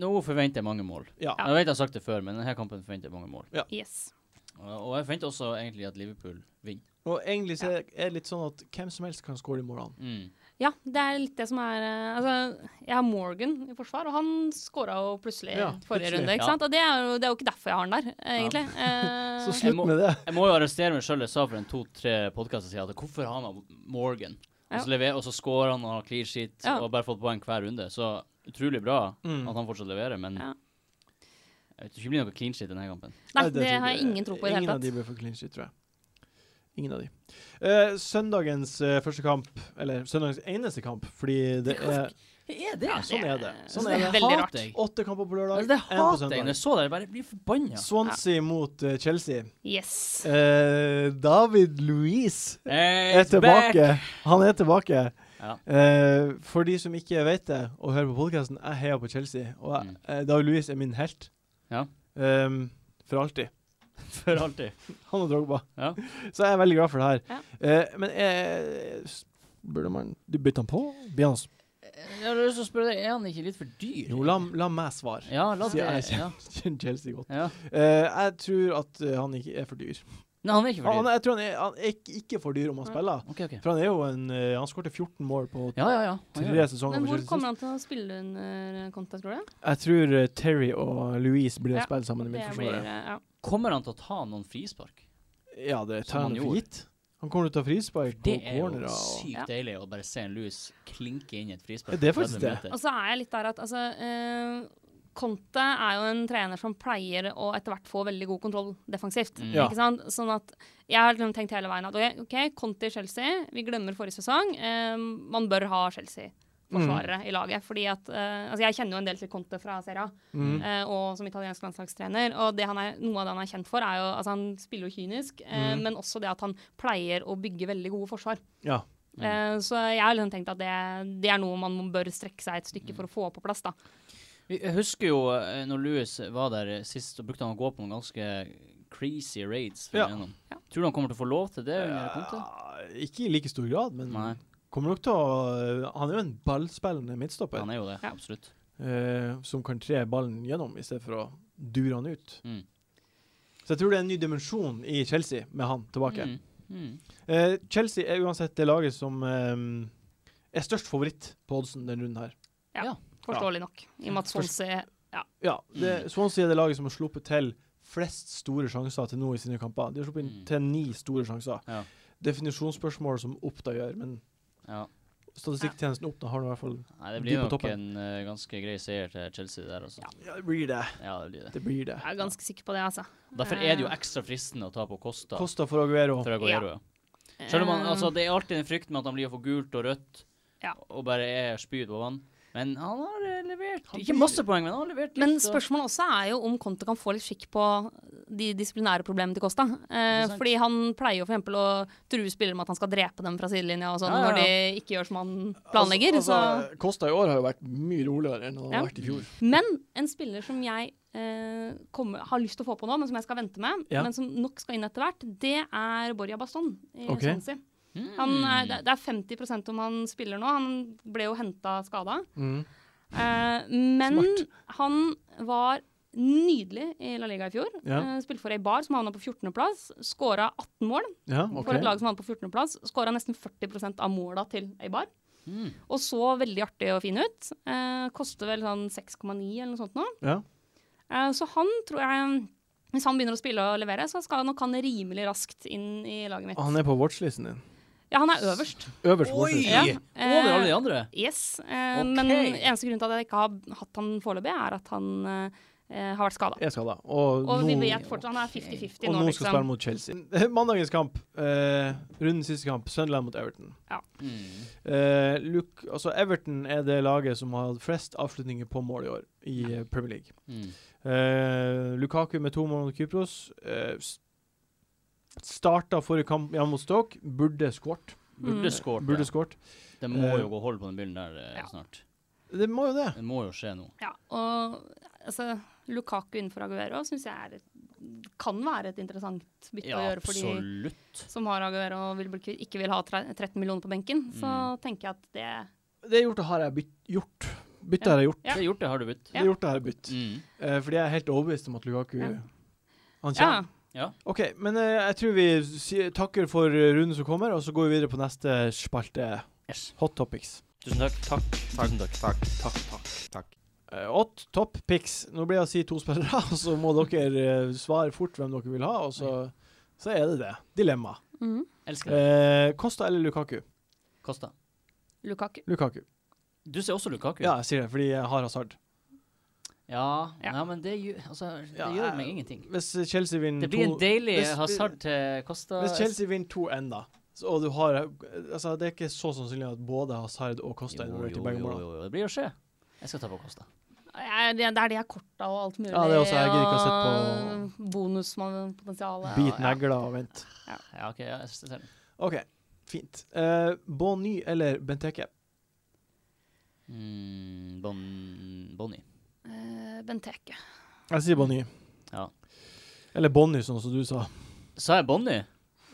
S2: nå forventer jeg mange mål.
S1: Ja.
S2: Jeg vet jeg har sagt det før, men denne kampen forventer jeg mange mål.
S4: Yes.
S2: Og og jeg forventer også egentlig at Liverpool vinner.
S1: Og egentlig så er det litt sånn at hvem som helst kan skåre de målene.
S2: Mm.
S4: Ja, det er litt det som er eh, Altså, jeg har Morgan i forsvar, og han skåra jo plutselig
S1: Ja,
S4: forrige
S1: plutselig.
S4: runde, ikke
S2: Ja.
S4: sant? Og det er, jo, det er jo ikke derfor jeg har han der, egentlig. Eh,
S1: Så
S2: Jeg
S1: slutt
S2: må-
S1: med det.
S2: Jeg må jo arrestere meg sjøl. Jeg sa for en to-tre podkaster siden at hvorfor har han Morgan? Og så, lever, og så scorer han og har clean sheet
S4: Ja.
S2: og har bare fått poeng hver runde. Så utrolig bra
S1: Mm.
S2: at han fortsatt leverer, men
S4: Ja.
S2: jeg tror ikke det blir noe clean sheet denne kampen.
S4: nei, det,
S1: tror
S4: har jeg
S1: ikke.
S4: ingen tro på i det
S1: Ingen
S4: hele
S1: av de
S4: tatt.
S1: blir for clean sheet, tror jeg. Ingen av de. Eh, søndagens eh, første kamp, eller søndagens eneste kamp, fordi det er
S2: Er det?
S1: ja, Sånn er det. Sånn
S4: det
S1: er
S4: er
S1: det.
S4: veldig
S2: rart.
S1: Åtte kamper på lørdag,
S2: Altså, det
S1: én på
S2: hater jeg. Når
S1: søndag.
S2: jeg så det, jeg bare blir forbanna.
S1: Swansea mot eh, Chelsea.
S4: Yes.
S1: Eh, David Louise
S2: Hey,
S1: er
S2: it's back!
S1: tilbake. Han er tilbake.
S2: Ja.
S1: Eh, for de som ikke vet det, og hører på podkasten, jeg heier på Chelsea. Og jeg,
S2: Mm.
S1: eh, David Louise er min helt.
S2: Ja.
S1: Ehm, for alltid.
S2: For alltid.
S1: Han og Drogba.
S2: Ja.
S1: Så jeg er veldig glad for det her.
S4: Ja.
S1: Eh, men eh, s- burde man du bytte han på? Blir han s-
S2: Jeg har lyst til å spørre deg, er han ikke litt for dyr?
S1: Jo, la, la meg svare.
S2: Ja, la det
S1: Sier jeg
S2: ja.
S1: Kjenner Chelsea godt.
S2: ja.
S1: Eh, jeg tror at eh, han ikke er for dyr.
S2: Nei, han er ikke for
S1: Han,
S2: dyr.
S1: jeg tror han er, han er ikke, ikke for dyr om han
S4: Ja.
S1: spiller.
S2: OK, OK.
S1: For han er jo en eh, Han skårte 14 mål på
S2: Ja, ja, ja. Han gjør
S1: tre
S2: det.
S1: sesonger.
S4: Men
S1: for
S4: hvor
S1: Chelsea
S4: kommer han til å spille under eh, Conte, tror du?
S1: sist. Jeg tror eh, Terry og Louise blir
S4: Ja,
S1: å spille sammen i
S4: Det blir,
S1: midtforsvaret.
S4: eh, ja.
S2: Kommer han til å ta noen frispark?
S1: Ja, det
S2: Som
S1: tar
S2: han
S1: han for
S2: gjorde.
S1: gitt. Han kommer til å ta frispark
S2: Det
S1: og
S2: er jo
S1: cornerer og
S2: sykt
S4: Ja.
S2: deilig å bare se en lus klinke inn i et frispark.
S1: Ja, det er
S2: på
S1: faktisk
S2: 30
S4: Og
S2: meter.
S4: så er jeg litt der at altså eh, Conte er jo en trener som pleier å etter hvert få veldig god kontroll defensivt.
S2: Mm.
S1: Ja.
S4: Ikke sant? Sånn at jeg har liksom tenkt hele veien at ok, ok, Conte i Chelsea, vi glemmer forrige sesong. eh, man bør ha Chelsea-forsvarere i laget. fordi at, eh, altså Jeg kjenner jo en del til Conte fra Serie A,
S1: Mm.
S4: eh, og som italiensk landslagstrener. og det han er, Noe av det han er kjent for, er jo altså Han spiller jo kynisk, eh,
S1: Mm.
S4: men også det at han pleier å bygge veldig gode forsvar.
S1: Ja.
S2: Mm.
S4: Eh, Så jeg har liksom tenkt at det, det er noe man bør strekke seg et
S2: Mm.
S4: stykke for å få på plass. da.
S2: Vi- Jeg husker jo eh, når Louis var der eh, sist, så brukte han å gå på noen ganske crazy raids. for
S1: Ja.
S2: gjennom.
S4: Ja.
S2: Tror du han kommer til å få lov til det? under Conte?
S1: Ja, ikke i like stor grad, men
S2: Nei,
S1: Kommer nok til å eh, Han er jo en ballspillende midtstopper
S2: han er jo det.
S4: Ja.
S2: Absolutt.
S1: eh, som kan tre ballen gjennom i stedet for å dure han ut.
S2: Mm.
S1: Så jeg tror det er en ny dimensjon i Chelsea med han tilbake.
S2: Mm. Mm.
S1: Eh, Chelsea er uansett det laget som eh, er størst favoritt på oddsen denne runden her.
S4: Forståelig nok. I og med at
S1: Forst-
S4: Swansea
S1: Ja, det, Swansea er det laget som har sluppet til flest store sjanser til nå i sine kamper. De har sluppet inn
S2: Mm.
S1: til ni store sjanser.
S2: Ja.
S1: Definisjonsspørsmål som Oppda gjør, men
S2: Ja.
S1: statistikktjenesten Oppda har nå i hvert fall
S2: Nei, det
S1: De
S2: blir
S1: på
S2: nok
S1: toppen.
S2: en eh, ganske grei seier til Chelsea der, altså.
S1: Ja, det blir det.
S2: Ja, det blir det.
S1: Det blir det.
S4: Jeg er ganske sikker på det, altså.
S2: Derfor er det jo ekstra fristende å ta på Costa.
S1: Costa for Aguero.
S2: for Aguero, ja. Selv om
S4: Eh,
S2: han, altså, Det er alltid en frykt med at han blir for gult og rødt
S4: Ja.
S2: og bare er spyd på vann. Men han har eh, levert
S1: Han
S2: Ikke
S1: blir-
S2: masse poeng, men han har levert litt.
S4: Men
S2: og-
S4: spørsmålet også er jo om Conte kan få litt skikk på de disiplinære problemene til Costa. Eh,
S2: Ikke sant?
S4: fordi han pleier jo for eksempel å true spillere med at han skal drepe dem fra sidelinja og sånn,
S2: Ja, ja,
S4: når de ikke gjør som han planlegger.
S1: Altså, altså, Kosta i år har jo vært mye roligere enn han
S4: Ja.
S1: har vært i fjor.
S4: så. Men en spiller som jeg eh, kommer, har lyst til å få på nå, men som jeg skal vente med,
S1: Ja.
S4: men som nok skal inn etter hvert, det er Borja Baston i
S1: Ok.
S4: Swansea.
S2: Mm.
S4: Han er, det- det er 50 om han spiller nå. Han ble jo henta skada.
S1: Mm.
S4: Eh, men
S1: Smart.
S4: han var nydelig i La Liga i fjor.
S1: Ja.
S4: Eh, spilte for Eibar, som havna på 14.-plass. Skåra 18 mål
S1: Ja,
S4: for
S1: ok.
S4: et lag som havna på 14.-plass. Skåra nesten 40 av måla til Eibar.
S2: Mm.
S4: Og så veldig artig å finne ut. Eh, koster vel sånn 6,9 eller noe sånt nå.
S1: Ja.
S4: Eh, så han tror jeg Hvis han begynner å spille og levere, så skal nok han rimelig raskt inn i laget mitt.
S1: Og han er på watchlisten din.
S4: Ja, han er øverst.
S1: Øverst på watchlisten.
S4: Ja.
S2: Over alle de andre.
S4: Yes. Eh,
S2: Ok.
S4: Men eneste grunnen til at jeg ikke har hatt han foreløpig, er at han eh, har vært skada.
S1: Jeg skal da. Og,
S4: Og vi
S1: nå,
S4: vet fortsatt Han er 50-50
S1: og
S4: nå,
S1: nå skal spille
S4: liksom.
S1: mot Chelsea. Mandagens kamp, eh, rundens siste kamp, Sunderland mot Everton.
S2: Mm.
S1: Eh, Luke, altså Everton er det laget som har hatt flest avslutninger på mål i år i eh, Premier League.
S2: Mm.
S1: Eh, Lukaku med to mål mot Kypros. Eh, s- starta forrige kamp hjemme mot Stoke. Burde skåret.
S2: Burde
S4: Mm.
S2: skåret.
S1: Burde skåret.
S2: Det må
S1: Eh,
S2: jo gå hold på den byllen der eh,
S4: ja.
S2: snart.
S1: Det må jo det.
S2: Det må jo skje nå.
S4: Ja, og altså, Lukaku innenfor Aguero syns jeg er et, kan være et interessant bytte
S2: Ja,
S4: å gjøre for de
S2: absolutt.
S4: som har Aguero og vil bli, kvitt- ikke vil ha tre- 13 millioner på benken. Så
S2: Mm.
S4: tenker jeg at
S1: Det
S4: det
S1: jeg har gjort, det har jeg bytt, gjort. Bytte
S4: Ja.
S1: har jeg gjort.
S4: Ja.
S2: Det er gjort, det har du budt.
S1: Det jeg har gjort, det har jeg bytt.
S2: Mm.
S1: Eh, fordi jeg er helt overbevist om at Lukaku
S4: Ja.
S1: Han kommer.
S4: Ja.
S1: OK, men eh, jeg tror vi si- takker for eh, runden som kommer, og så går vi videre på neste spalte,
S2: Yes.
S1: Hot Topics.
S2: Tusen takk.
S3: Takk, takk, takk, takk, takk, takk.
S1: Eh, Hot top picks. Nå blir det å si to spillere, og så må dere eh, svare fort hvem dere vil ha, og så, så er det det. Dilemma.
S4: Mhm.
S2: Elsker det.
S1: Eh, Kosta eller Lukaku?
S2: Kosta.
S4: Lukaku.
S1: Lukaku.
S2: Du ser også Lukaku.
S1: Ja, jeg sier det fordi jeg har Hazard.
S2: Ja,
S4: Ja.
S2: nei, men det, gjør- altså, det
S1: Ja,
S2: gjør
S1: jeg-
S2: meg ingenting.
S1: Hvis Chelsea vinner
S2: Det blir en
S1: to
S2: deilig
S1: hvis-
S2: hasard til Costa.
S1: Hvis Chelsea vinner to N, da, så- og du har Altså, det er ikke så sannsynlig at både Hazard og Kosta er
S2: Jo,
S1: involvert
S2: jo,
S1: i begge
S2: jo,
S1: målene.
S2: jo, det blir å skje. Jeg skal ta på Costa.
S4: Jeg, det, det er de her korta og alt mulig.
S1: Ja, det er også- jeg gidder ikke å
S4: og Bonuspotensialet. og-
S1: Bit negler og vent.
S2: Ja, OK, ja, jeg ser den.
S1: OK, fint. Eh, Bonny eller Benteke?
S2: Mm, bon, Bonnie.
S4: Ja. Eh, Benteke.
S1: Jeg sier Bonny.
S2: Ja.
S1: Eller Bonny, sånn som du sa.
S2: Sa jeg Bonnie?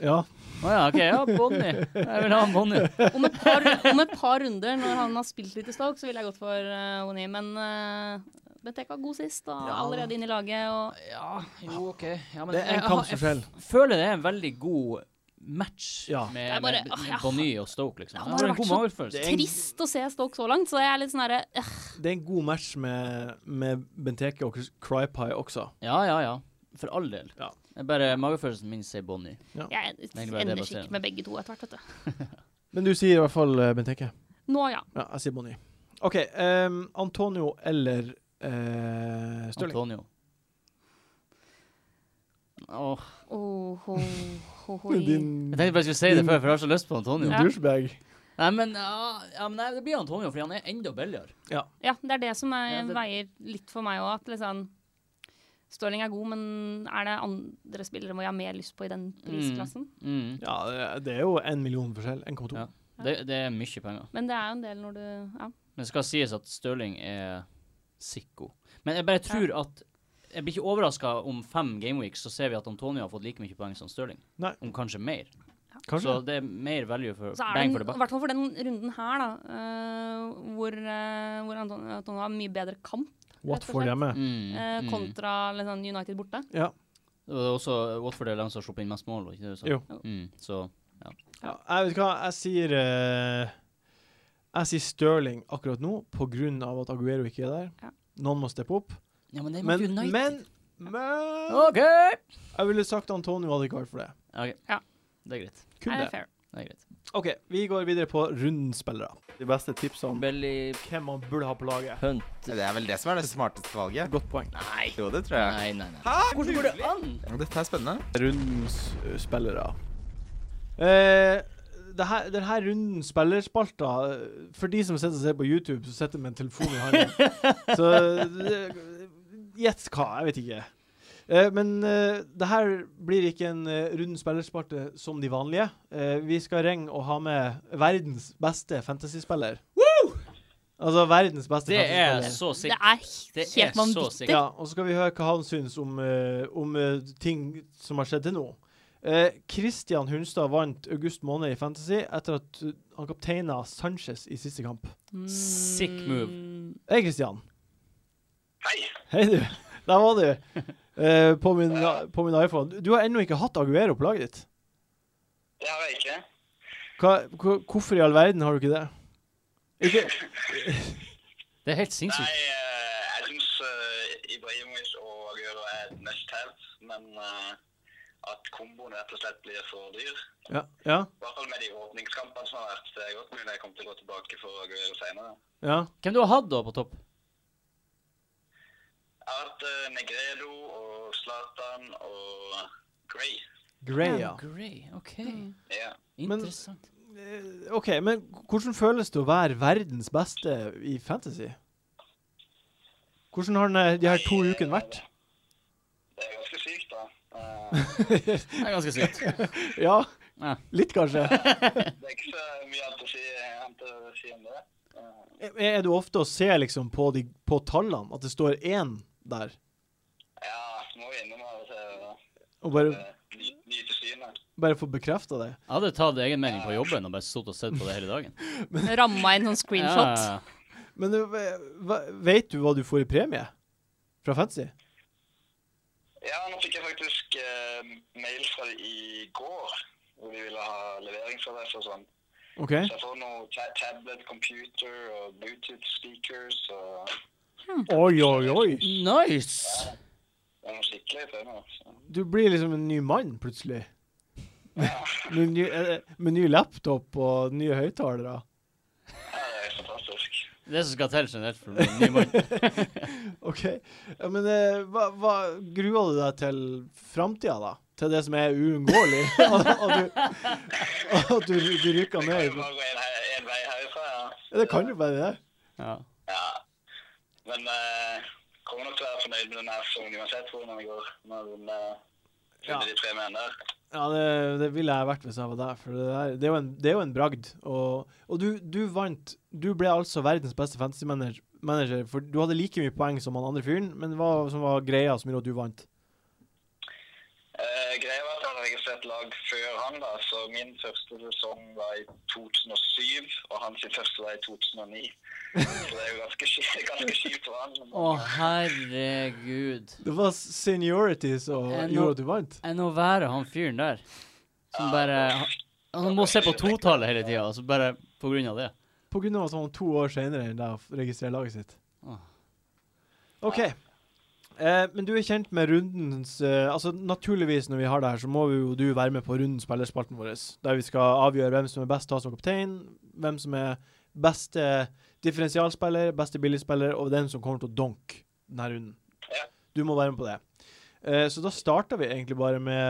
S1: Ja.
S2: Å ja, OK. Ja, Bonnie. Jeg vil ha Bonnie.
S4: Om et, par, om et par runder, når han har spilt litt i Stoke, så ville jeg gått for uh, Oni. Men eh, Benteke var god sist, og
S1: Ja.
S4: allerede inn i laget. Og
S2: Ja, jo, OK. Ja, men
S1: Det er en
S2: jeg-
S1: kamp som
S2: jeg-
S1: skjer.
S2: Jeg føler det er en veldig god match
S1: Ja.
S4: Det
S2: med,
S4: er bare-
S2: med
S4: åh, jeg har-
S2: Bonny og Stoke, liksom.
S4: Det
S2: Jeg
S4: har
S2: ah, har
S4: bare
S2: en god
S4: vært så-
S2: magefølelse.
S1: Det er en-
S4: trist å se Stoke så langt, så jeg er litt sånn herre eh,
S1: Det er en god match med, med Benteke og Crypie også.
S2: Ja, ja, ja. For all del.
S1: Ja.
S2: Det er bare magefølelsen min sier Bonnie.
S4: Jeg
S2: er egentlig bare det
S4: ender
S2: jeg baserer
S4: ikke med begge to etter hvert, vet du.
S1: Men du sier i hvert fall eh, Benteke.
S4: Nå, ja.
S1: Ja, jeg sier Bonny. OK. ehm, Antonio eller eh, Stirling?
S2: Antonio. Åh,
S4: Oh, ho, ho, ho.
S2: jeg tenkte bare jeg skulle si det før, for jeg har så lyst på Antonio.
S1: din
S4: Ja.
S1: douchebag.
S2: Nei, men, ja, ja, men nei, det blir Antonio, fordi han er enda billigere.
S4: Ja, det er det som er,
S2: Ja, det-
S4: veier litt for meg òg. At liksom Stirling er god, men er det andre spillere hvor jeg har mer lyst på i den prisklassen?
S2: Mm.
S1: Ja, det- det er jo én million forskjell. 1,2.
S2: Ja. Det, det er mye penger.
S4: Men det er jo en del når du Ja.
S2: Men det skal sies at Stirling er sikko. Men jeg bare tror at Jeg blir ikke overraska om fem gameweeks så ser vi at Antonio har fått like mye poeng som Stirling.
S1: Nei.
S2: Om kanskje mer.
S1: Kanskje.
S2: Så det er mer value for
S4: Så er det,
S2: bang for the
S4: en- i
S2: buck.
S4: hvert fall for den runden her, da, eh, hvor, eh, hvor Anton, Anton har mye bedre kamp
S1: Watford hjemme.
S2: Mm,
S4: eh,
S2: mm.
S4: kontra liksom, United borte.
S1: Ja.
S2: Og Det er også Watford er de som har sluppet inn mest mål, var ikke det du sa?
S1: Jo.
S2: Mm, så
S1: ja. Jeg vet hva, jeg sier eh, Jeg sier Stirling akkurat nå på grunn av at Aguero ikke er der.
S4: Ja.
S1: Noen må steppe opp.
S2: Ja, men det er
S1: Men,
S2: mot United.
S1: men, men
S2: OK!
S1: Jeg ville sagt Antonio hadde ikke vært for det.
S2: Ok.
S4: Ja.
S2: Det er greit.
S1: Kun
S4: Er
S1: det.
S4: det fair?
S2: Det er greit.
S1: OK, vi går videre på rundens spillere. De beste tipsene
S2: Belly
S1: hvem man burde ha på laget.
S2: Hunt.
S3: Det er vel det som er det smarteste valget.
S1: Godt poeng.
S3: Nei. Jo, det tror jeg.
S2: Nei, nei, nei.
S3: Hæ?
S2: Hvordan Ah, går det an?
S3: Dette er spennende.
S1: Rundens eh, spillere. Eh, det her, den her runden spillerspalta eh, For de som sitter og ser på YouTube, så sitter de med en telefon i hånden. så det- gjett hva. Jeg vet ikke. Eh, men eh, det her blir ikke en eh, runden spillerspalte som de vanlige. Eh, vi skal ringe og ha med verdens beste fantasyspiller. Altså verdens beste
S2: Det er
S1: fantasyspiller.
S2: så
S4: Det
S2: sikkert.
S4: er
S2: Det
S4: he-
S2: er
S4: helt
S2: så
S4: vanvittig.
S2: sikkert.
S1: Ja, og så skal vi høre hva han syns om, eh, om eh, ting som har skjedd til nå. Kristian Hunstad vant august måned i Fantasy etter at eh, han kapteina Sanchez i siste kamp.
S4: Mm.
S2: Sick move.
S1: Hei, Kristian. Hei. Hei, du. Der var du. Eh, på, min, på min iPhone. Du- Du har ennå ikke hatt Aguero på laget ditt.
S5: Det har jeg ikke.
S1: Hva, hva, hvorfor i all verden har du ikke det? Ikke,
S2: Det er helt
S5: Nei,
S2: sinnssykt.
S5: eh, jeg syns eh, Ibrahimovic og Aguero er et must have, men eh, at komboen rett og slett blir for dyr.
S1: ja, ja,
S5: I hvert fall med de åpningskampene som har vært. Det er godt mulig jeg kommer til å gå tilbake for Aguero senere.
S1: ja.
S2: Hvem du har hatt da på topp?
S5: Jeg har hatt eh, Negredo og Zlatan og Gray.
S1: Grey, ja.
S2: Grey, OK.
S5: Ja.
S2: Interessant.
S1: Eh, OK, men hvordan føles det å være verdens beste i fantasy? Hvordan har den, eh, de her to ukene vært?
S5: Det er ganske sykt, da. Eh,
S2: Det er ganske sykt.
S1: Ja,
S2: Ja.
S1: litt kanskje.
S5: det er ikke så mye annet å si, annet å si om det. Eh,
S1: Er er du ofte å se liksom på, de, på tallene, at det står én der,
S5: ja, så må vi innom av og til eh,
S1: og bare,
S5: ny- nyte synet.
S1: bare få bekrefta det?
S2: Jeg hadde tatt egenmelding på jobben og bare sittet og sett på det hele dagen.
S4: Ramma inn sånn screenshot.
S2: Ja,
S1: Men eh, hva, vet du hva du får i premie fra fantasy?
S5: Ja, nå fikk jeg faktisk eh, mail fra de i går, hvor de ville ha leveringsadresse og sånn.
S1: OK?
S5: Så jeg får noe ta tablet, computer og Bluetooth speakers og
S1: Oi, oi, oi!
S2: Nice!
S5: det er noe skikkelig til nå. Så.
S1: Du blir liksom en ny mann plutselig. Med ny, eh, med ny laptop og nye høyttalere.
S5: Ja, det er fantastisk.
S2: Det som skal til generelt for å bli en ny mann.
S1: OK. Ja, men eh, hva, hva gruer du deg til framtida, da? Til det som er uunngåelig? at at du, at du, du rykker
S5: Det kan
S1: ned?
S5: jo bare gå en, he- en vei herfra, ja.
S1: Ja, det kan jo være det.
S2: Ja.
S5: ja. Men eh, kommer nok til å være fornøyd med denne sesongen uansett hvordan det går. Når vi vinner
S1: Ja.
S5: eh, de tre med der.
S1: Ja, det, det ville jeg vært hvis jeg var der, for det, der, det, er, jo en, det er jo en bragd. Og, og du, du vant. Du ble altså verdens beste fantasy-manager, manager, for du hadde like mye poeng som han andre fyren, men hva som var greia som gjorde at du vant?
S5: Eh, greia var at jeg hadde registrert lag før han, da, så min første sesong var i 2007, og hans sin første var i 2009. Så det er jo ganske, sk- ganske kjipt for han. men-
S2: Å, herregud.
S1: Det var seniority som
S2: Eh, nå-
S1: gjorde at du vant.
S2: Enn å være han fyren der, som bare Han må se på totallet hele tida, altså bare på grunn av det.
S1: På grunn av at han var to år senere enn deg og registrerte laget sitt.
S2: Åh.
S1: OK. Eh, men du er kjent med rundens eh, Altså Naturligvis, når vi har det her, så må vi jo du være med på rundens spillerspalten vår, der vi skal avgjøre hvem som er best til å ha som kaptein, hvem som er beste differensialspiller, beste billigspiller, og den som kommer til å donke denne runden.
S5: Ja.
S1: Du må være med på det. Eh, så da starter vi egentlig bare med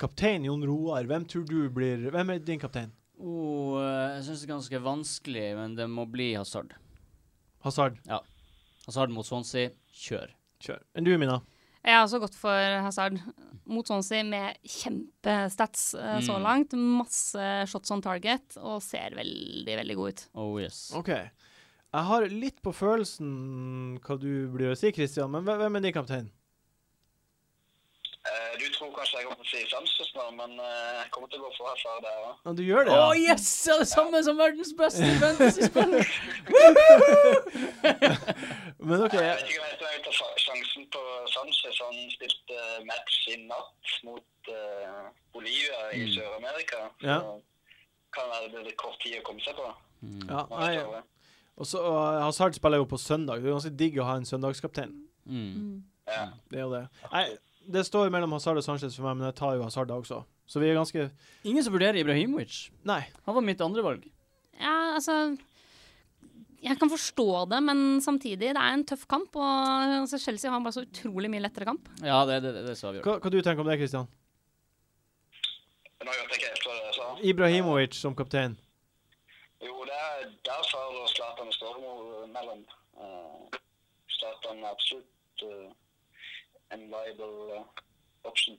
S1: kaptein Jon Roar. Hvem tror du blir Hvem er din kaptein?
S2: Oh, eh, jeg syns det er ganske vanskelig, men det må bli Hazard.
S1: Hazard.
S2: Hazard mot Swansea, kjør.
S1: Kjør. Enn du, Mina?
S4: Jeg har også gått for Hazard mot Swansea med kjempestats eh, så
S2: Mm.
S4: langt. Masse shots on target og ser veldig, veldig god ut.
S2: Oh yes.
S1: OK. Jeg har litt på følelsen hva du blir å si, Christian, men hve- hvem er din kaptein?
S5: Eh, du tror kanskje jeg kommer til å si Sanchez nå, men eh, jeg kommer til å gå for Hazard der òg.
S1: Ja, du gjør det,
S2: Å
S1: ja?
S2: yes! Ja, det samme som verdens beste fantasy-spiller.
S1: Men OK.
S5: Eh, Jeg vet ikke om jeg skal ta fa- sjansen på Sanchez. Han spilte eh, match i natt mot eh, Bolivia i
S2: Mm.
S5: Sør-Amerika.
S1: Ja.
S5: Så Kan være det blir litt kort tid å komme seg på.
S1: Ja,
S5: når
S1: nei,
S5: jeg
S1: Ah, ja.
S5: står det.
S1: Og så uh, Hazard spiller jo på søndag. Det er jo ganske digg å ha en søndagskaptein.
S2: Mm.
S5: Ja.
S1: Det er jo det. Nei, det står mellom Hazard og Sanchez for meg, men jeg tar jo Hazard da også. Så vi er ganske
S2: Ingen som vurderer Ibrahimovic.
S1: Nei.
S2: Han var mitt andre valg.
S4: Ja, altså Jeg kan forstå det, men samtidig, det er en tøff kamp. Og altså, Chelsea har bare så utrolig mye lettere kamp.
S2: Ja, det, det, det, det sa vi jo.
S1: Hva, hva du tenker om det, Christian?
S5: Nå hørte jeg ikke helt hva det sa.
S1: Ibrahimovic som kaptein.
S5: Jo, det er der har du Zlatan og Stormo mellom. Eh, Zlatan er absolutt eh, en viable eh, option.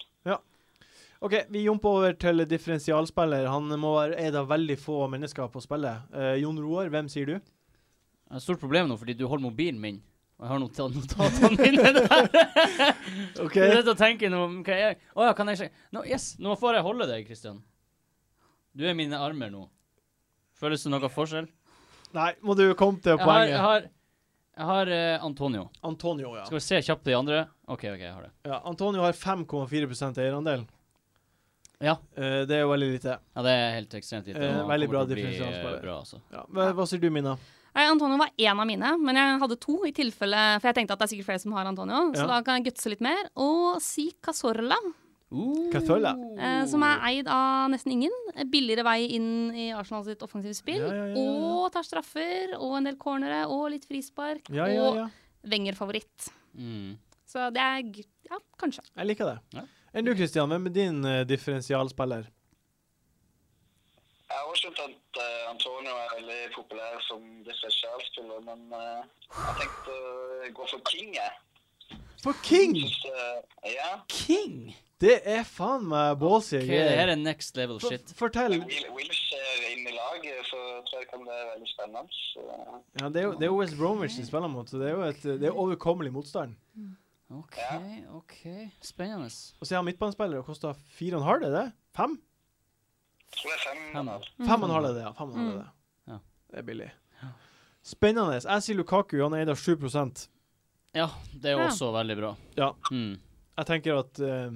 S1: OK, vi jumper over til differensialspiller. Han må være eid av veldig få mennesker på spillet. Eh, Jon Roar, hvem sier du?
S2: Jeg har stort problem nå fordi du holder mobilen min. Og jeg har nota- notatene mine der.
S1: OK.
S2: Jeg sitter og tenker nå hva jeg, Å ja, kan jeg ikke Nå, Yes, nå får jeg holde deg, Kristian. Du er mine armer nå. Føles det noe forskjell?
S1: Nei, må du komme til
S2: Jeg har,
S1: poenget.
S2: jeg har, jeg har eh, Antonio.
S1: Antonio, ja.
S2: Skal vi se kjapt de andre? OK, OK, jeg har det.
S1: ja. Antonio har 5,4 eierandel.
S2: Ja.
S1: Eh, det er jo veldig lite.
S2: ja, det er helt ekstremt lite. og
S1: Eh,
S2: han
S1: veldig
S2: kommer
S1: bra
S2: til å bli, eh,
S1: differensialspiller.
S2: Bra, altså.
S1: Ja, hva, hva sier du, Mina?
S4: Nei, Antonio var én av mine, men jeg hadde to i tilfelle For jeg tenkte at det er sikkert flere som har Antonio, så
S1: Ja.
S4: da kan jeg gutse litt mer. Og si Casorla,
S2: Uh.
S1: Cazorla.
S4: eh, som er eid av nesten ingen. Eh, Billigere vei inn i Arsenal sitt offensive spill.
S1: Ja, ja, ja, ja.
S4: Og tar straffer og en del cornere og litt frispark.
S1: Ja, ja, ja.
S4: Og Wenger-favoritt.
S2: Mm.
S4: Så det er gu- Ja, kanskje.
S1: Jeg liker det.
S2: Ja.
S1: Enn du, Kristian? Hvem er din eh, differensialspiller?
S5: Jeg har også skjønt at eh, Antonio er veldig populær som differensialspiller, men eh, jeg tenkte å gå for King, jeg.
S1: For King!
S5: Synes, eh, ja,
S2: King!
S1: Det er faen meg ballsy
S2: Ok, det her er next level
S1: For-
S2: shit.
S1: Fortell.
S5: Wil- Wilsh er inn i laget, så tror jeg kan bli veldig spennende. Så, eh,
S1: Ja, det er jo det er jo West Bromwich de spiller mot, så det er jo et, det er overkommelig motstand.
S2: OK,
S5: Ja.
S2: OK. Spennende.
S1: Og så er han midtbanespiller og koster fire og en halv, er det? Fem?
S5: jeg tror det er fem.
S2: Fem.
S5: eller?
S1: Fem og en halv er det, ja. Fem og en halv er det.
S2: Ja.
S1: Det er billig. Spennende. Jeg sier Lukaku, han er eid av 7 Jeg
S2: Ja, det er
S4: Ja.
S2: også veldig bra.
S1: Ja.
S2: Mm.
S1: tenker at eh,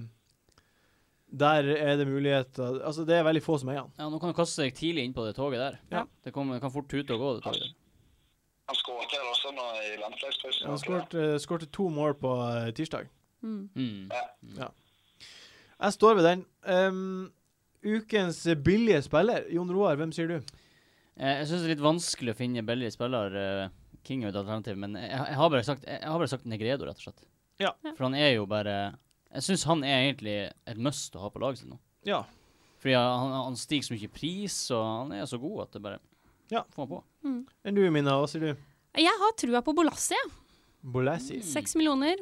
S1: der er det muligheter Altså, det er veldig få som eier han.
S2: Ja, nå kan du kaste deg tidlig inn på det toget der.
S1: Ja.
S2: Det, kommer- det kan fort tute og gå, det toget der.
S5: Han skåret vel også nå i landslagspausen.
S1: Han
S5: tror jeg.
S1: skårte skårte to mål på eh, tirsdag.
S4: Mm.
S2: Mm.
S1: Jeg står ved den. Ehm, ukens billige spiller, Jon Roar, hvem sier du?
S2: Eh, Jeg syns det er litt vanskelig å finne billig spiller. eh, King er jo et alternativ, men jeg, jeg, har bare sagt, jeg, jeg har bare sagt Negredo, rett og slett.
S1: Ja.
S4: Ja.
S2: For han er jo bare Jeg syns han er egentlig et must å ha på laget sitt nå.
S1: Ja.
S2: Fordi han, han stiger så mye i pris, og han er så god at det bare
S1: Ja.
S2: får han på.
S1: Enn du, Mina, hva sier du?
S4: Jeg har trua på Bolassi. jeg.
S1: Bolassi.
S4: Seks millioner.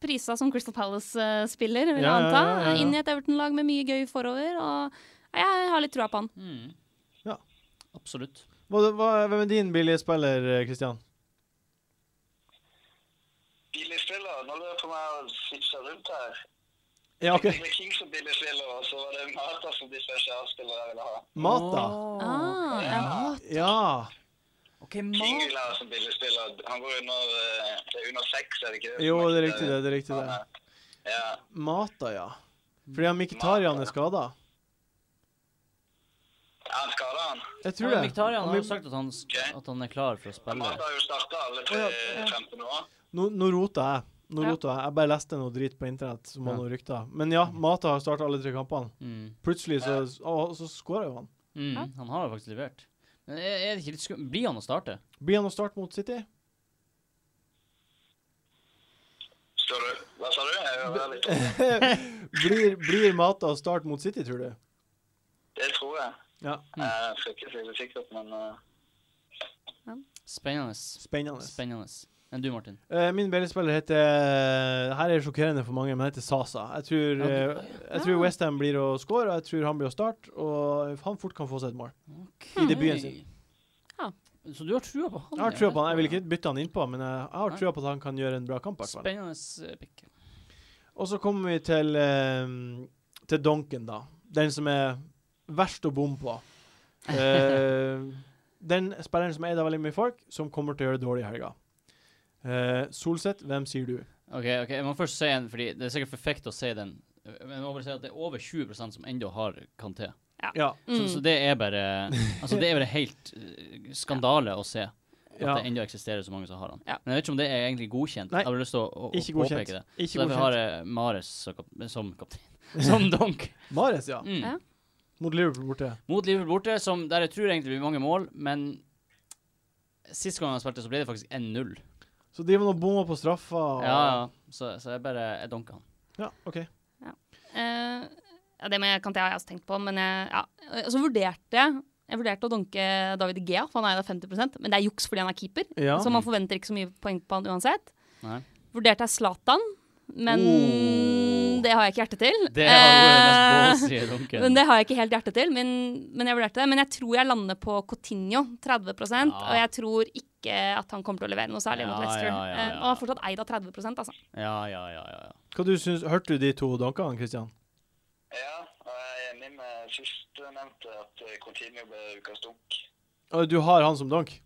S4: Prisa som Crystal Palace-spiller, vil jeg
S1: Ja, ja,
S4: anta.
S1: ja, ja, ja.
S4: Inn i et Everton-lag med mye gøy forover. Og jeg har litt trua på han.
S2: Mm.
S1: Ja.
S2: Absolutt.
S1: Hva, hva, hvem er din billige spiller, eh, Kristian?
S5: Billigspiller, nå lurer jeg på om jeg har switcha rundt her.
S1: Ja, OK.
S5: Det er King som billigspiller, og så var det Mata som differensialspiller jeg ville ha.
S1: Mata.
S4: Ah, ja.
S1: Ja.
S2: OK,
S5: King
S2: mat.
S5: vil jeg ha som billigspiller. Han går under, eh, det er under seks, er det ikke det?
S1: Jo, det er riktig, det. det er riktig det.
S5: Ja.
S1: Mata, ja. Fordi han Mkhitarian er skada.
S5: Er han skadet, han?
S1: Jeg tror det.
S2: Viktarian
S1: Han
S2: har
S1: blir-
S2: jo sagt at han, s- at han er klar for å spille.
S5: Mata har jo startet alle tre kampene nå.
S1: Nå, nå rota jeg. Nå
S4: Ja.
S1: rota jeg. Jeg bare leste noe drit på internett som var
S2: Ja.
S1: noe rykter. Men ja, Mata har starta alle tre kampene.
S2: Mm.
S1: Plutselig så, å, så skåra jo han.
S2: Mm. Han har jo faktisk levert. Men er, er det ikke litt skummelt? Blir han å starte?
S1: Blir han å starte mot City?
S5: Står du? Hva sa du? Jeg hører litt.
S1: Blir, blir Mata å starte mot City, tror du?
S5: Det tror jeg.
S1: Ja.
S5: Jeg skal ikke si det sikkert, men eh,
S2: Spennende.
S1: Spennende.
S2: Spennende. Enn du, Martin?
S1: Eh, min billigspiller heter Her er det sjokkerende for mange, men heter Sasa. Jeg tror,
S2: Ja,
S1: eh, jeg tror Westham blir å score, og jeg tror han blir å starte. Og han fort kan få seg et mål. I debuten sin.
S4: Ja.
S2: Så du har trua på han?
S1: Jeg har
S2: ja.
S1: trua på han. Jeg vil ikke bytte han innpå, men eh, jeg jeg har
S2: Sånn Nei.
S1: trua på at han kan gjøre en bra kamp. i hvert fall.
S2: Spennende eh, pick.
S1: Og så kommer vi til, eh, til Donken, da. Den som er verst å bomme på. Eh, den spilleren som er eid av veldig mye folk, som kommer til å gjøre det dårlig i helga. Eh, Solseth, hvem sier du?
S2: OK, ok, jeg må først si en, fordi det er sikkert perfekt å si den. Men jeg må bare si at det er over 20 som ennå har Kanté.
S1: Ja.
S4: Mm.
S2: Så, så det er bare Altså, det er bare helt eh, skandale å se at
S1: ja.
S2: det ennå eksisterer så mange som har han.
S4: Ja.
S2: Men jeg vet ikke om det er egentlig godkjent.
S1: Nei,
S2: jeg har bare lyst til å, å, å
S1: Ikke
S2: påpeke
S1: godkjent.
S2: det. Så
S1: Ikke
S2: derfor har
S1: godkjent.
S2: jeg Mares som kap- som kaptein. Som donk.
S1: Mares, ja.
S2: Mm.
S4: Ja.
S1: Mot Liverpool borte.
S2: Mot Liverpool borte, som der jeg tror egentlig blir mange mål, men sist gang han spilte, så ble det faktisk 1-0.
S1: Så driver han og bommer på straffa. og-
S2: Ja, ja. Så, så jeg bare Jeg dunker han.
S1: Ja, OK.
S4: Eh, ja, det med Kanté har jeg også tenkt på, men jeg, ja. Eh, Så vurderte jeg jeg vurderte å donke David De Gea, for han er jo da 50 men det er juks fordi han er keeper.
S1: Ja.
S2: Sånn-
S4: Så man forventer ikke så mye poeng på han uansett.
S2: Nei.
S4: Vurderte jeg Zlatan, men
S2: Oh.
S4: det har jeg ikke hjerte til.
S2: Det har vært
S4: Eh,
S2: den mest blåsige dunken.
S4: men det har jeg ikke helt hjerte til, men, men jeg vurderte det. Men jeg tror jeg lander på Cotinho, 30 og jeg tror ikke at han kommer til å levere noe
S2: Ja,
S4: særlig mot Leicester.
S2: ja, ja,
S4: Eh,
S2: ja.
S4: Og er fortsatt eid av 30 altså.
S2: Ja, ja, ja. ja, ja.
S1: Hva du syns, Hørte du de to dunkene, Kristian?
S5: ja. Og jeg er enig med sistnevnte at eh, Coutinho ble ukas dunk.
S1: Å, Du har han som dunk?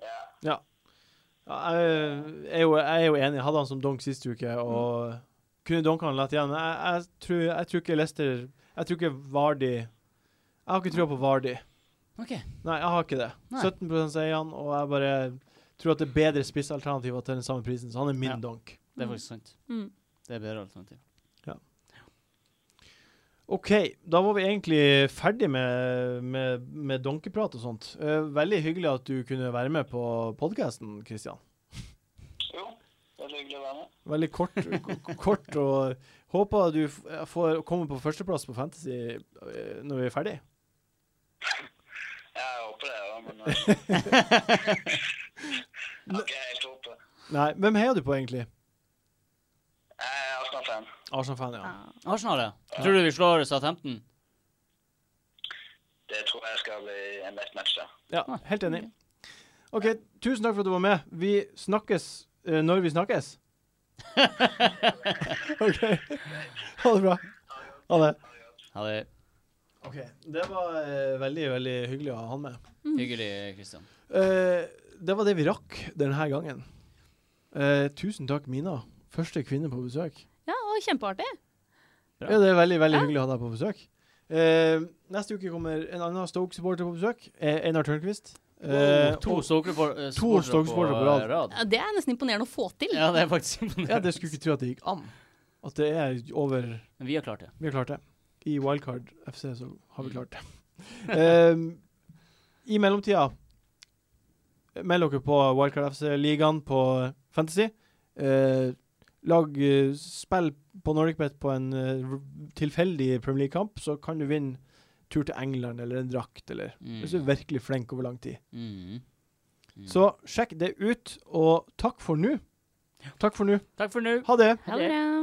S5: Ja.
S1: Ja. ja jeg, er jo, jeg er jo enig. Jeg hadde han som dunk sist uke og kunne dunka han lett igjen. Men jeg, jeg, tror, jeg tror ikke Leicester Jeg tror ikke Vardi Jeg har ikke trua på Vardi.
S2: OK.
S1: Nei, jeg har ikke det.
S2: Nei.
S1: 17 sier han, og jeg bare tror at det er bedre spissalternativer til den samme prisen, så han er min
S2: Ja.
S1: donk.
S2: Det er faktisk sant.
S4: Mm.
S2: Det er bedre alternativ.
S1: OK, da var vi egentlig ferdig med, med, med donkeprat og sånt. Eh, veldig hyggelig at du kunne være med på podkasten, Kristian.
S5: Jo, veldig hyggelig å være med.
S1: Veldig kort, k- k- kort og håper du f får komme på førsteplass på Fantasy eh, når vi er ferdig.
S5: Jeg håper det, ja, men eh, Jeg har ikke helt håpet.
S1: Nei, hvem heier du på egentlig?
S5: Jeg er Arsenal-fan.
S1: Arsenal-fan, ja.
S4: Ja.
S2: Arsenal, ja. Tror du vi slår Southampton?
S5: Det tror jeg skal bli en lett match, da.
S1: Ja, helt enig. OK, tusen takk for at du var med. Vi snakkes eh, når vi snakkes. OK. Ha det bra. Ha det.
S2: Ja, det er
S1: OK. Det var eh, veldig, veldig hyggelig å ha han med.
S4: Mm.
S2: hyggelig, Kristian.
S1: Eh, det var det vi rakk denne gangen. Eh, tusen takk, Mina. Første kvinne på besøk.
S4: ja, og kjempeartig.
S2: Bra.
S1: Ja, det er veldig veldig
S4: Ja.
S1: hyggelig å ha deg på besøk. Eh, neste uke kommer en annen Stoke-supporter på besøk. Eh, Einar Tørnquist. Eh,
S2: to
S1: og-
S2: Stoke-supportere
S1: to Stoke-supportere på rad.
S4: Ja, Det er nesten imponerende å få til.
S2: Ja, det er faktisk
S1: ja,
S2: imponerende.
S1: det skulle ikke tro at det gikk an. At det er over
S2: Men vi har klart det.
S1: Vi har klart det. I Wildcard FC så har vi klart det. Ehm, I mellomtida meld dere på Wildcard FC-ligaen på Fantasy. Eh, lag eh, spill på NordicBet på en eh, r- tilfeldig Premier League-kamp, så kan du vinne tur til England eller en drakt, eller
S2: Mm.
S1: hvis du er virkelig flink over lang tid.
S2: Mm. Mm.
S1: Så sjekk det ut, og takk for nå. Takk for nå.
S2: Takk for nå.
S1: Ha det.
S4: Ha det bra.